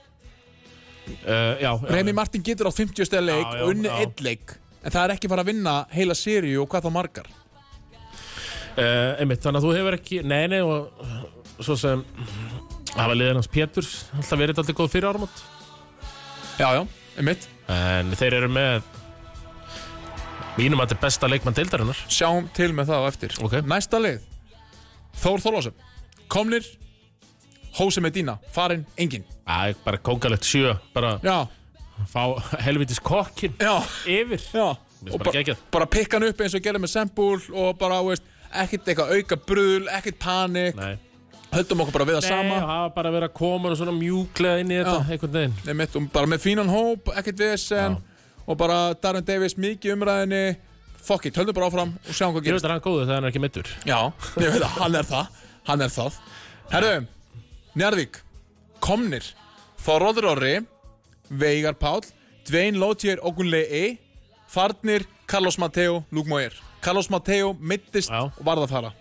Uh, já, já, Remi Martin getur á 50 steg leik Já, já, og unni já. einn leik en það er ekki fara að vinna heila serju og hvað þá margar Uh, einmitt, þannig að þú hefur ekki, nei, nei, og svo sem, það var liðan hans Péturs, alltaf verið alltaf góð fyrir áramót. Já, já, einmitt En þeir eru með, mínum að þetta er besta leikmann deildarinnar. Sjáum til með það á eftir Ok. Næsta lið Þór Þórlásson Komnir Hósi Medina Farinn Engin Æ, bara kókalegt sjö, bara Já, fá helvitis kokkin já, yfir. já Mér finnst bara Og bara, geggjað. bara pikka hann upp eins og gerði með sembúl Og bara, veist, ekkert eitthvað auka brul Ekkert panik Nei, Höldum okkur bara við það nei, sama og hafa bara verið að koma og svona mjúklega inn í þetta, Já. einhvern veginn. Einmitt, og bara með fínan hóp, ekkert vesen og bara Darren Davis mikið í umræðinni fuck it, höldum bara áfram og sjáum hvað Ég veit gerist að hann er góður þegar hann er ekki meittur. Já, ég veit að hann er það hann er það Herru, Njarðvík, Komnir Þorvaldur Orri, Veigar Páll Dvein Lótier Ogunlei Farnir, Carlos Mateo Lugmóir, Carlos Mateo mittist Já. og varð að fara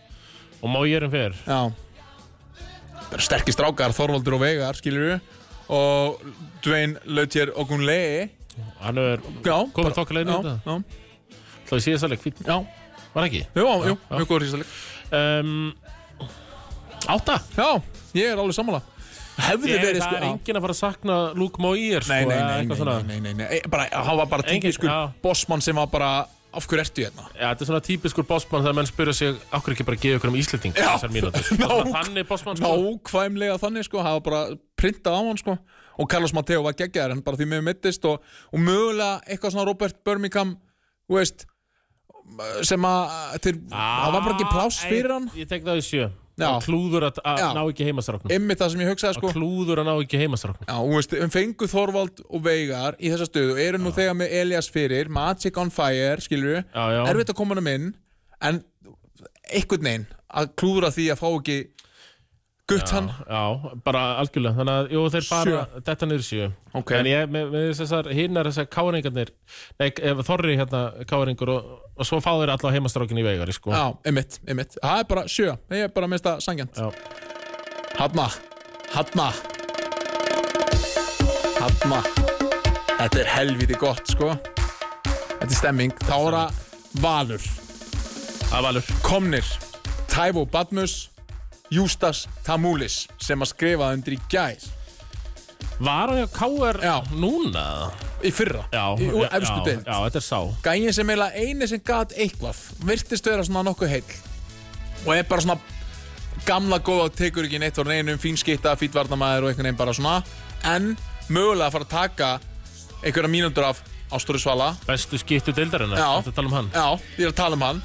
Og má ég um erum fyrir. Já Það eru sterkir strákar, Þorvaldur og Veigar skilur við og Dvein Lótier Ogunlei Hann er Já, komið bara- þokkalega inn í já, þetta. Já, Það sé þess að leik, fín. já, Var ekki? jú, já, jú, já. mjög góður síðasta leik Um, Ehm, átta? Já, ég er alveg sammála Hefði Ég, verið það sko er já. enginn að fara að sakna Luke Moyer nei, sko, nei, eða nei, nei, eitthvað svona. nei, nei, nei, nei, nei. Bara, eh, Hann var bara Engin- típiskur já. bossmann sem var bara Af hverju ertu hérna? Ja, þetta er svona típiskur bossmann þegar menn spyrja sig okkur ekki bara að gefa ykkur um Íslending Já. þessar mínútur. Það er Nák- svona Þannig bossmann sko. Nákvæmlega þannig sko, hafa bara printað á hann sko Og Carlos Mateo var geggjaður en bara því miður mittist og, og mögulega eitthvað svona Robert Birmingham Þú veist sem að þeir, Ah, það var bara ekki pláss fyrir hann Ég, ég tek það í sjö. Já. Að klúður að, að Já. ná ekki heimastráknum. Einmitt það sem ég hugsaði sko Að klúður að ná ekki heimastráknum. Já, og veist, um fengu Þorvald og Veigar í þessa stöðu og eru nú þegar með Elias fyrir Magic on Fire, skilur við Já, já. erfitt að koma hann inn en einhvern veginn að klúðra því að fá ekki gutt hann Já, bara algjörlega. Þannig að, jú, þeir fara þetta niður í sjö. Ok. En ég, með, með þessar hinnar, þessar káringarnir, nei, ef Þorri hérna káringur og, og svo fá þeir allavega heimastrákin í veigari, sko. Já, einmitt, einmitt Það er bara sjö, ég er bara að mista sangjant Já. Hanna, hanna Hanna Þetta er helviti gott, sko Þetta er stemming Þára Valur Það er valur. komnir Taivo Badmus Jústas Tamulis sem að skrifaði undir í gær Var hann hjá KR Já. núna? í fyrra, Já, í úr já, efstu deild Já, þetta er sá gæin sem eiginlega eini sem gat eitthvað virtist vera svona nokkuð heill og er bara svona gamla góða tekur ekki neitt voru neinum fínskitta, fítvarnamæður og einhvern veginn bara svona en mögulega að fara að taka einhverja mínútur af Ástúri Svala Bestu skiptu deildarinnar, Já. þetta tala um hann Já, ég er að tala um hann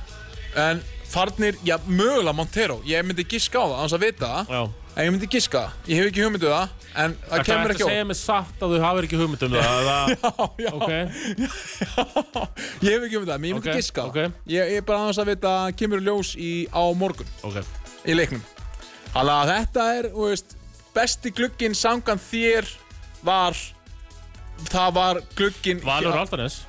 en farnir, já, mögulega Montero ég myndi giska á það, hans að vita það Já En ég myndi giska, ég hef ekki hugmyndu það En það kemur ekki Það segja óvart mig satt að þú hafir ekki hugmynd um það það- Já, já, Ok, ég hef ekki hugmyndu það, menn ég myndi Ok, giska ok. Ég ég er bara aðeins að vita að kemur í ljós í, á morgun ok Í leiknum Þannig að þetta er, þú veist Besti glugginn sangan þér var Það var glugginn Valur Já, Aldanes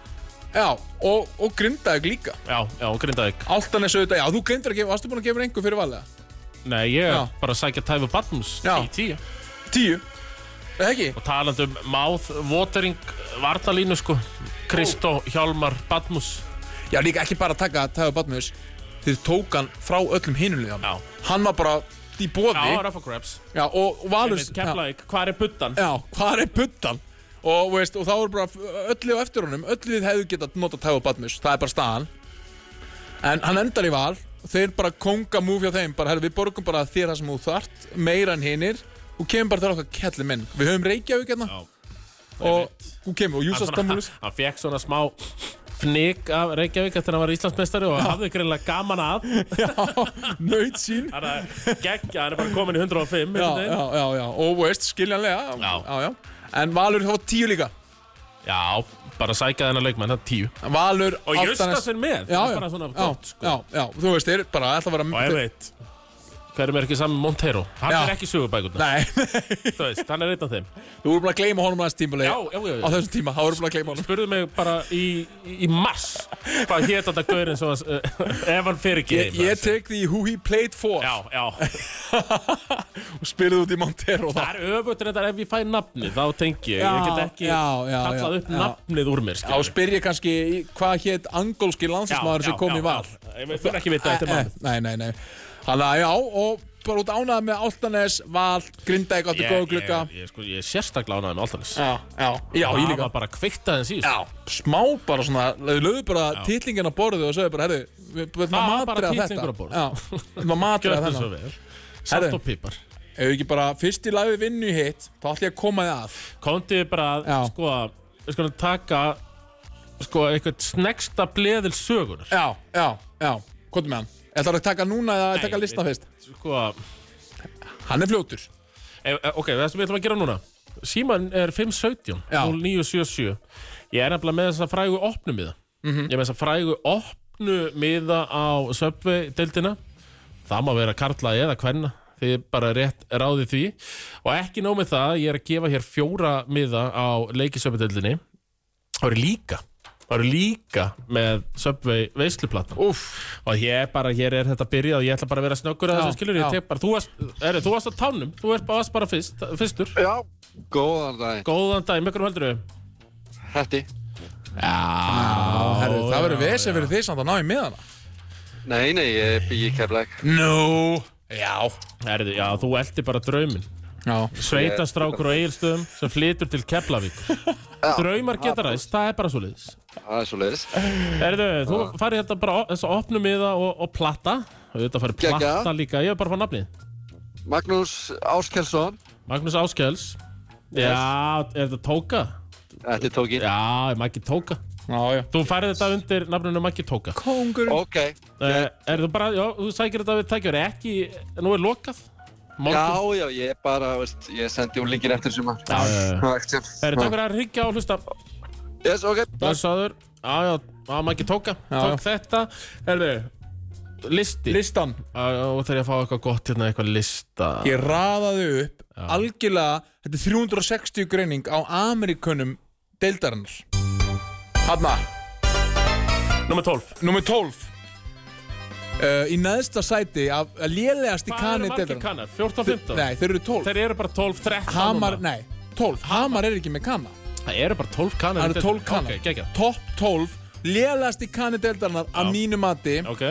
Já, og, og grindaðug líka Já, já, Grindavík Altanes auðvitað, já, þú grindur að gefa Varstu búin að gefa einhver fyrir valega? Nei, ég Já. er bara að sækja Tæfu Badmus Já. í tíu Tíu Er Það ekki? Og talandi um mouth watering vartalínu sko Kristó Hjálmar Badmus Já, líka ekki bara að taka Tæður Batmus Þeir tók hann frá öllum hinulegum Já. Hann var bara í bóði Já, Já, Rafa Grabs og, og Valur já, Keflavík, hvað er buttan? já, hvað er puttan? Og, veist, og þá er bara öllu á eftir honum Öllu við hefðu getað notað Tæður Batmus Það er bara staðan En hann endar í val Þeir bara konga múfi á þeim bara, herri, Við borgum bara þér það sem þú þart Meira en hinir Og kemur bara til okkar kelli minn Við höfum Reykjavík hérna Já, Og þú kemur og Júsas hann, Damulus hann fekk svona smá fnik af Reykjavík eftir að hann var Íslandsmeistari og hafði greinlega gaman að Naut sín hann er geggja, hann er bara komin í 105 já, einhvern veginn. já, já, já, og veist, skiljanlega Já. já, já. En Valur þá tíu líka já, bara sækja þennan leikmann, það er 10 En Valur Og Álftanes- Justasinn með, já, það er já, bara svona já, gott, sko. já, já, þú veist, þeir bara ætla að vera og ég veit Hver er mér ekki saman Montero? Hann Já. er ekki sögubækurna Nei, Þú veist, hann er einn af þeim þú voru búin að gleyma honum aðeins tímulegi Já, já, já, já. Á þessum tíma, þá voru búin að gleyma honum Spurðu mig bara í, í í mars Hvað hétt þetta gaurinn sem var uh, Evan Fergie Ég, ég tek því who he played for Já, já og spyrði út í Montero þá Það er öfut reyndar ef ég fæ nafnið Þá tengi ég, Já, ég get ekki já, já, kallað já, upp já. nafnið úr mér Á spyrja kannski í- hvað hétt angolski landsinsmaður sem kom í val Ég fyrir ekki vita þetta Eh, eh, mann Nei, nei, nei Þannig að já, og bara út ánað með Áltanes, Val, Grindavík átti góða glugga ég, ég, sko, ég er sérstaklega ánaði með Altanis Já, já, já, ég Það líka var bara kveikt aðeins í þessu. Já, smá bara svona, þau lögðu bara titlingin á borðið og sögðu bara, herru, við við ætlum að Það var bara matriða þetta titlingur á borðið. Já, við ætlum að matriða Gjörðu svo þetta vel Herðu. Salt og pipar Ef við ekki bara fyrst í lagi vinnu hitt, þá ætlum ég að koma þið að Komdu bara að Já. sko Við skulum taka Sko eitthvað snegsta bleðil sögunar Já, já, já, komdu með hann Þetta er að taka núna eða Nei, taka listan við- fyrst Sko Hann er fljótur e, e, Ok, það sem við ætlum að gera núna Síman er 517 Já. 0977 Ég er nefnilega með þessa frægu opnumiða Ég er með þessa frægu opnumiða á Subway-deildina Það má vera karla eða kvenna Þið bara rétt ráðið því Og ekki nóg með það, ég er að gefa hér fjóra miða á leikisöpudöldinni Það eru líka Það eru líka með Subway veisluplata Úf. Og ég er bara, hér er þetta byrjað og Ég ætla bara að vera snöggur að Já, þessu skilur já. Ég tek bara, þú varst, er, þú varst á tánum Þú ert bara, varst bara fyrst, fyrstur Já, góðan daginn. Góðan dag, mikilvæg heldur við Hetti. Herru, það verður vesið fyrir því samt að ná í miðana Nei, nei, ég bygg í keflæk. Nú, já Herðu, já, þú eldi bara draumin Já, Sveitastrákur og eigilstöðum sem flytur til Keflavík Draumar geta ræst, það er bara svo liðs Það er svo leiðis. Herðu, þú farið þetta bara þess að opnum miða og, og platta Þetta farið Geggjað. platta líka, ég hef bara fá nafnið Magnús Áskelsson. Magnús Áskels Já, er þetta Tóka? Þetta er tókin. Já, Maggi Tóka já, já Þú farið þetta undir nafninu Maggi Tóka Kongur Ok. yeah. Er þú bara, já, þú sækir þetta við tækjur Ekki, nú er lokað Já, Morgun já, ég bara, veist, ég sendi úr linkin eftir suma. Já, já, já. Það er ekki sem. Herðu, takk fyrir að hryggja og hlusta Yes, ok. Blessaður Já, já, já, Maggi Tóka Já, Tók þetta Herðu, listi Listan Já, og þegar ég að fá eitthvað gott hérna, eitthvað lista Ég raðaði upp algjörlega Þetta er 360 greining á Amerikunum deildarinnar Hanna, Númer 12 nummer 12 uh, Í neðsta sæti af að lélegasti Hvað eru kani margir deildarinnar kannar? 14, 15? Nei, þeir eru 12 Þeir eru bara 12, 13 Hamar, núna. nei, 12 Hamar er ekki með kana Það eru bara 12 kannar Það eru 12 kana Ok, geggjað Top 12 Lélegasti kani deildarinnar að mínu mati Ok,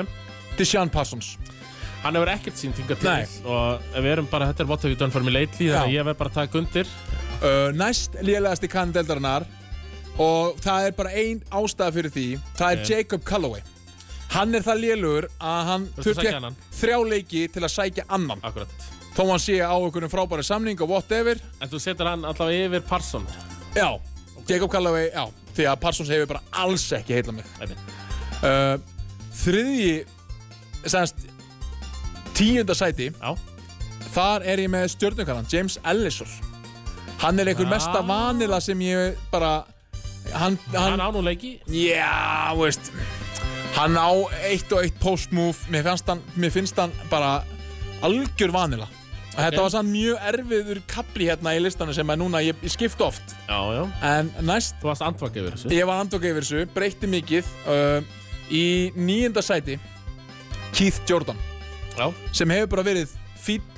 Deshaun Parsons hann hefur ekkert sín tinga til Nei. Og við erum bara, þetta er what have you done for me lately Þannig Já. að ég verð bara að taka undir uh, næst lélegasti kandeldarinnar og það er bara ein ástæða fyrir því það er Ok. Jacob Calloway hann er það lélugur að hann Viltu þurfti sækja annan? þrjá leiki til að sækja annan Akkurat þó hann sé á einhvern frábæri samning og whatever En þú setur hann allavega yfir Parson já, Jacob Calloway, já því að Parsons hefur bara alls ekki heila mig Einmitt. uh, þriðji sagðast tíunda sæti Já þar er ég með stjörnukannan, James Ellison hann er einhver Ah. mesta vanila sem ég bara hann, Hann hann, á nú leiki já, veist hann á eitt og eitt postmove mér finnst hann, mér finnst hann bara algjör vanila þetta var sann mjög erfiður kapli hérna í listanum sem er núna, ég, ég skipta oft Já, já en næst, Þú varst andvaka yfir þessu ég var andokka yfir þessu breytti mikið uh, í nýjunda sæti Keith Jordan Já sem hefur bara verið fýtt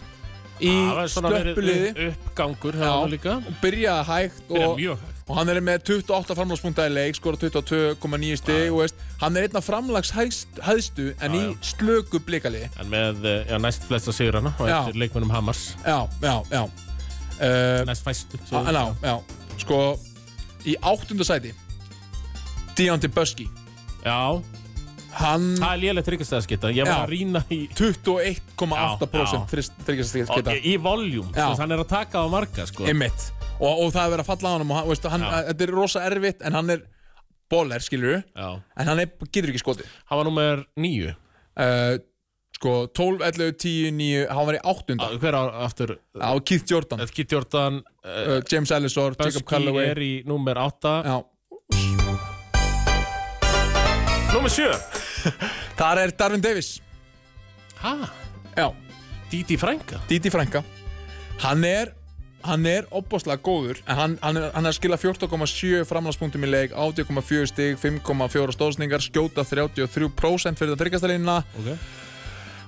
í Það var svona verið stöppuliði upp- uppgangur Já. hérna líka byrjaði hægt Byrjaði og, mjög hægt. og hann er með 28 framlagspunkta í leik, skora 22,9 stig og veist, hann er einna framlags hæðstu en í já. slöku blikaliði En með eh, já, næst flesta sigurana Og Já. eftir leikmennum Hammars já, já, já uh, Næst fæstu en á, já, sko í áttunda sæti Deontay Busky Já, hann það er lélegt tryggastæðaskita Ég var Já. að rýna í, Já, 21,8% já. þryggjastakita í voljúm Já. Hann er að taka á marga sko. einmitt og, og það er verið að falla á honum og hann, veist, hann, Já. þetta er rosa erfitt en hann er bóler, skilur Já. en hann er, getur ekki skotið Hann var nummer níu uh, sko 12, 11, 10, 9 hann var í áttunda Á, Hver á aftur? á Keith Jordan, uh, Edki Jordan uh, James Ellison, Jacob Busky Calloway er í nummer átta já. Nummer sjö þar er Darvin Davis Hæ? já. Díti frænga Díti Frænka Hann er Hann er opbáslega góður en hann, hann, er, hann er að skila 14,7 framlagspunktum í leik 8,4 stig, 5,4 stóðsningar skjóta 33% fyrir það tryggastaliðina Ok.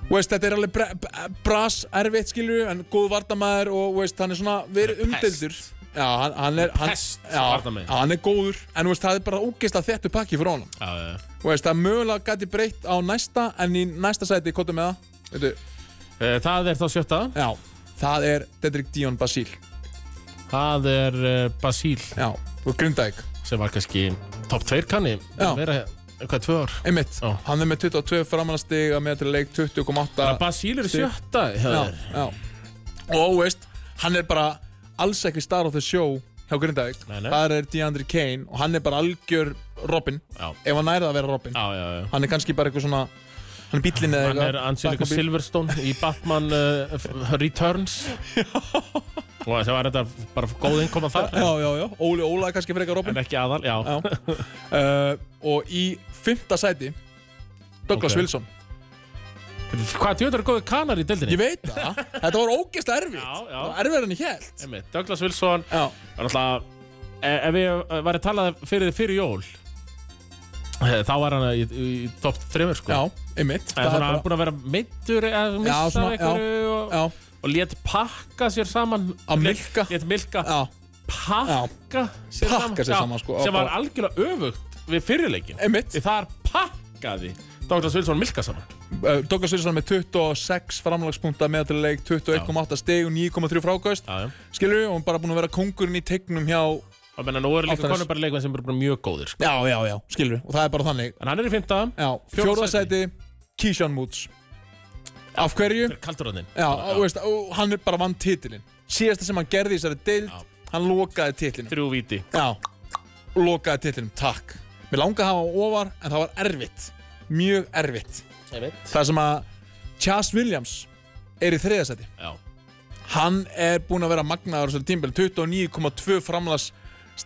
Þú veist, þetta er alveg bra, bra- bras erfitt skilur en góð vardamæður og þú veist, hann er svona verið umdeldur Já, hann, hann er hann, Pest, já, varnarmaður. hann er góður en þú veist, það er bara ógeist að þettu pakki frá honum Já, já, já. Þú veist, það mögulega gæti breytt á næsta en í næsta sæti, kóta með það Veitu, Eh, Það er þá sjötta Já, það er Dedrick Dion Basíl Það er eh, Basíl Já, og Grindavík sem var kannski topp tveir kanni Já. vera eitthvað tvö ár Einmitt, Já. hann er með 22 framannastiga með til leik 20,8 Basíl er Stig. sjötta Já, hjá þér. já Og veist, hann er bara alls ekki star of the show hjá Grindavík Nei, nei. Það er DeAndre Kane og hann er bara algjör Robin Já. Ef hann nærða að vera Robin já, já, já Hann er kannski bara eitthvað svona Hann er bíllinn eða Hann er Angelica Bakkabíll. Silverstone í Batman uh, f- Returns og það var þetta bara góð innkoma þar Já, já, já, Óli Óla er kannski frekar Robin en ekki aðal, já, Já. uh, Og í fymta sæti Douglas Ok. Wilson Hvað djöður er góði kanar í deildinni? Ég veit það, þetta var ógeist erfitt Já, já. Það var erfið en ég held Einmitt, Douglas Wilson Já, var náttúrulega e- ef ég var að tala fyrir þið fyrir jól eh, þá var hann í, í topp þreymur sko já, En einmitt Það er svona hann bara- er búin að vera meittur eða Já, missa svona, já, einhverju og, Já, og lét pakka sér saman Að milka. Lét milka já, pakka sér Pakka saman, sér Já, saman, sko, á- sem var á- algjörlega öfugt við fyrirleikin einmitt því þar pakkaði Douglas Wilson milka saman uh, Douglas Wilson með 26 framlagspunkta meðatileik 21,8 stig og 9,3 frákvæst já, já. Skilur við, og hann bara búin að vera kongurinn í tegnum hjá og menna nú eru líka Áttaness. konur bara leikmenn sem eru bara mjög góðir sko. Já, já, já, skilur við, og það er bara þannig en hann er í fymta Já, Fjórða fjóra sæti, Keyshawn Moots Af hverju? kaldur hann Já, og, veist, og hann er bara vann titilinn Síðasta sem hann gerði í þessari deild Já. Hann lokaði titilinn þrjú víti Já, lokaði titilinn, takk Mér langaði að hafa hann ofar, en það var erfitt Mjög erfitt já, Það sem að Chas Williams er í þriðasæti Hann er búinn að vera magnaður á þessari tímbil 29,2 framlastig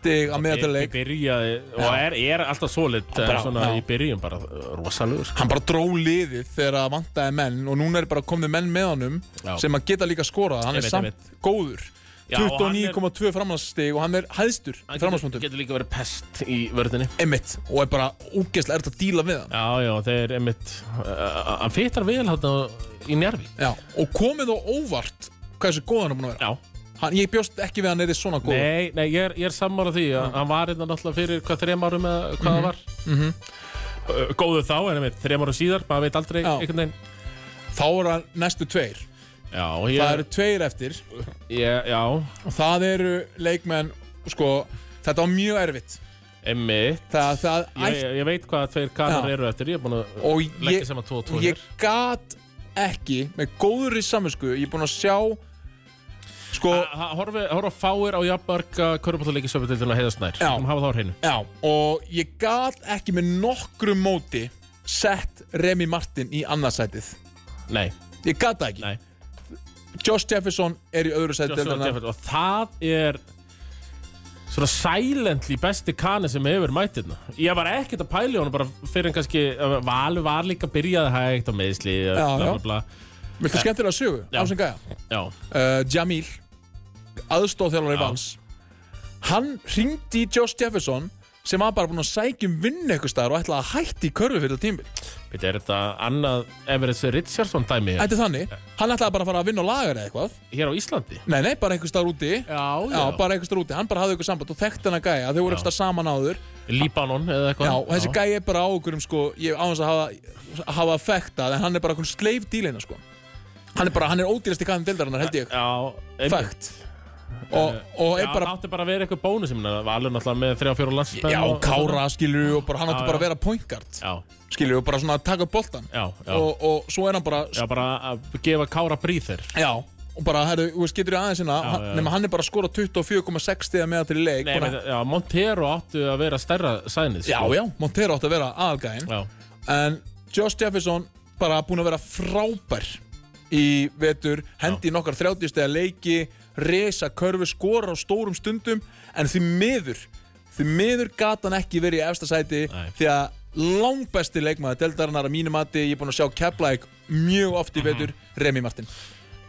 að ég meðatalleik byrjaði og Já. er, er alltaf solid Já, bara- eh, svona já. í byrjun bara eh, rosalegur sko. Hann bara dró liðið þegar að vantaði menn og núna er bara komnið menn með honum Já. sem að geta líka skorað, hann Ég veit, er samt ég góður Já, og hann er- 29,2 framlastig og hann er hæðstur í Hann getur, framlaspunktum getur líka verið pest í vörðinni Emmitt og er bara úgeslega erfitt að díla við hann Já, já, þeir einmitt uh, Hann fyttar vel hérna í Njarvík Já, og komið á óvart hversu góð hann er búinn að vera Já, hann, Ég bjóst ekki við að hann er svona góð nei, nei, ég er, ég er sammála því að hann var hérna náttúrulega fyrir hvað þrem árum eða hvað það var -hmm. Góðu þá, en einmitt, þrem árum síðar maður veit aldrei Já. einhvern veginn Þá eru hann næstu tveir Já, ég, Það eru tveir eftir ég, já, og það eru leikmenn sko, þetta var mjög erfitt einmitt það, það Ég, ætti ég, ég veit hvað tveir kanar Já. eru eftir, ég er búin að Og leggja ég- saman tvo og tvo og ég gat ekki með góðri saminsku, ég er búinn að sjá sko, hér Horfa horf fáir á jafnbarka Körbáttaleiki söpudildinu að heiðasnær Já. Hafa þá á hreinu já, og ég gat ekki með nokkru móti sett Remy Martin í annarsætið Nei, ég gat það ekki Nei. Josh Jefferson er í öðru sæti Joshua deildarinnar. Jefferson og það er svona silently besti kani sem hefur mætt hérna ég var ekkert að pæli honum bara fyrir en kannski Valur var líka byrjaði hægt á meðsli Já, bla, já. bla, bla. viltu skemmtilega sögu, Eh. Já. ásinn gæja já, uh, Jamil aðstóðþjálfari Já. Vals hann ringdi í Josh Jefferson sem var bara búinn að sækja um vinnu eitthvað staðar og ætlaði að hætti í körfu fyrir tímbil Þetta er þetta annað Everett Richardson dæmi hér, Þetta er þannig, hann ætlaði bara að fara að vinna á lagar eða eitthvað hér á Íslandi Nei, nei, bara eitthvað staðar úti já, Já, bara eitthvað staðar úti, hann bara hafði eitthvað samband og þekkti hann að gæja, þau voru Já. eitthvað staðar saman áður Líbanon eða Já, eitthvað og þessi gæja er bara á okkur um sko, ég á hans að hafa, hafa þekktað en hann er bara okkur sleif dílina sko Hann er bara, hann er ódýrasti kæðum deildarinnar held ég, já, einmitt. þekkt Og, og Já, er bara það átti bara að vera eitthvað bónus ég meina, Valur náttúrulega með 3-4 landsmenn Já, og- Kára skilur og bara hann átti Já, bara að já. vera point guard Já, skilur og bara svona að taka upp boltan já, já, og, og svo er hann bara já, bara að gefa Kára bríðir já, og bara, herru, þú veist, getur ég aðeins hérna Já, hann- já, já. nema hann er bara að skora 24,6 stiga með til í leik Nei, bara, menn, já, Montero áttu að vera stærra sæðnið sko. já, já, Montero átti að vera aðalgæðin já, en Josh Jefferson bara búin að vera frábær í vetur, hendi nokkar 30 stiga leiki, resa körfu skora á stórum stundum en því miður, því miður gata hann ekki verið í efsta sæti Nei. því að Mhm. langbæsti leikmaður deldarinnar að mínum mati, ég er búin að sjá Keflæk mjög oft í vetur, Remy Martin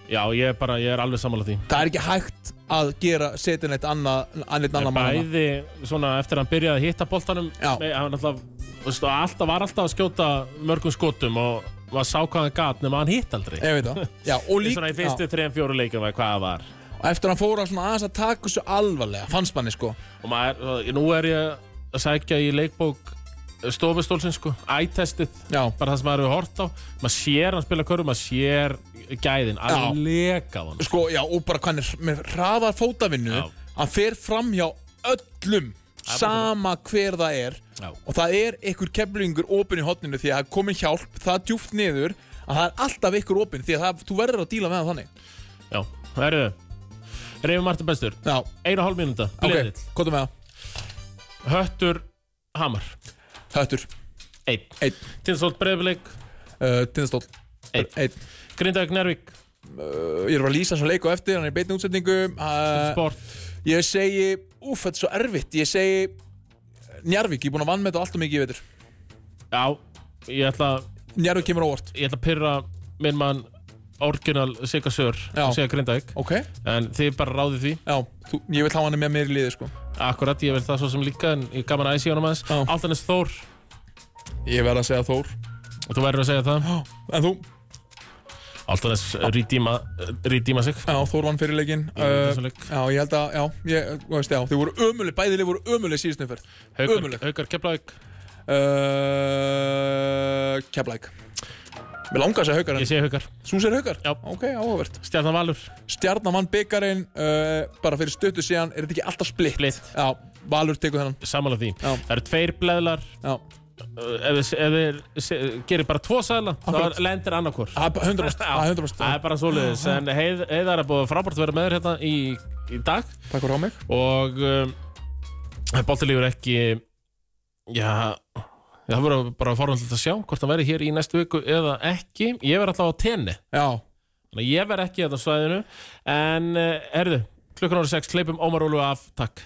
Já, ég er bara, ég er alveg sammála því Það er ekki hægt að gera setja neitt annað annað anna manna Bæði, svona, eftir að hann byrjaði að hitta boltanum Já. nei, hann alltaf, veist, og alltaf var alltaf að skjóta mörgum skotum og maður sá hvað hann gat nema hann hitt aldrei Ég veit það Já, og Lík, líka Svona í fyrstu 3-4 leikum eða hvað það var Og eftir að hann fór að svona aðeins að taka þessu alvarlega Fannst manni sko og maður, nú er ég að sækja í leikbók stofustólsinn sko, ætestið Já bara það sem maður hefur hort á maður sér hann spila körfu, maður sér gæðin, alveg leka á hann Sko, já, og bara hvað hann er með hraðar fótavinnu Já. Hann fer fram hjá öllum Sama hver það er Já. Og það er einhver keflingur opinn í hotninu Því að það er komin hjálp, það er djúft niður Að það er alltaf einhver opinn Því að það, þú verður að díla með það þannig Já, það eru Reifum Martin Bestur, Já, einu og hálf mínúta Bliðill, ok, hvað með það? Höttur, Hamar Höttur, Einn, einn, Tinsótt Breiðblik uh, tindastól Einn. Einn Grindavík Nervík, Ég er að lýsa þessu leik og eftir, hann er í beinni útsendingu uh, Sport Ég segi, úf, þetta er svo erfitt Ég segi, Njarvík, ég er búin að vann með þetta allt og mikið, ég veitur Já, ég ætla, Njarvík kemur á óvart ég ætla að pyrra minn mann Orginal Sigga Sör Já. og segja Grindavík Ok, En þið bara ráðið því já, þú, ég vil hafa hann með mér í liði, sko Akkurat, ég vil það svo sem líka En ég er gaman aðeins í honum aðeins Já. Altanis Þór, Ég verð að segja Þór og þú verður að segja það eh, En þú? Altanis rýdíma, rýdíma sig Já, Þór vann fyrir leikinn vann uh, þessa leik. Já, ég held að, já, ég, þú veist, já Þið voru ömuleg, bæðileg voru ömuleg síðust umferð Haukar, Ömurleg. Haukar Keflavík uh, Keflæk Mér langar að segja haukar Ég en segi Haukar, Sú segir haukar? Já. Ok, áhugavert Stjarnan Valur Stjarnan vann byggarinn uh, bara fyrir stöttu síðan, er þetta ekki alltaf splitt? Splitt. Já, Valur tekur þennan Samanlega því Já. Það eru tveir bleðlar Já, uh, Ef þið- ef þið se- gerir bara tvo sæðla Akkurat. Þá lendir annarkvör Það er bara 100%, það er 100%. Það er bara svoleiðis En heið, heiðar er búið frábært að vera með þér hérna í, í dag Takk fyrir á mig Og um, Bóttilífur ekki Já Það verður bara forhaldilegt að sjá Hvort það verður hér í næstu viku eða ekki Ég verð alltaf á tenni Já, Þannig eh, að ég verð ekki hérna á svæðinu En, uh, herðu, klukkan ára 6 Kleipum Ómar Ólu af, takk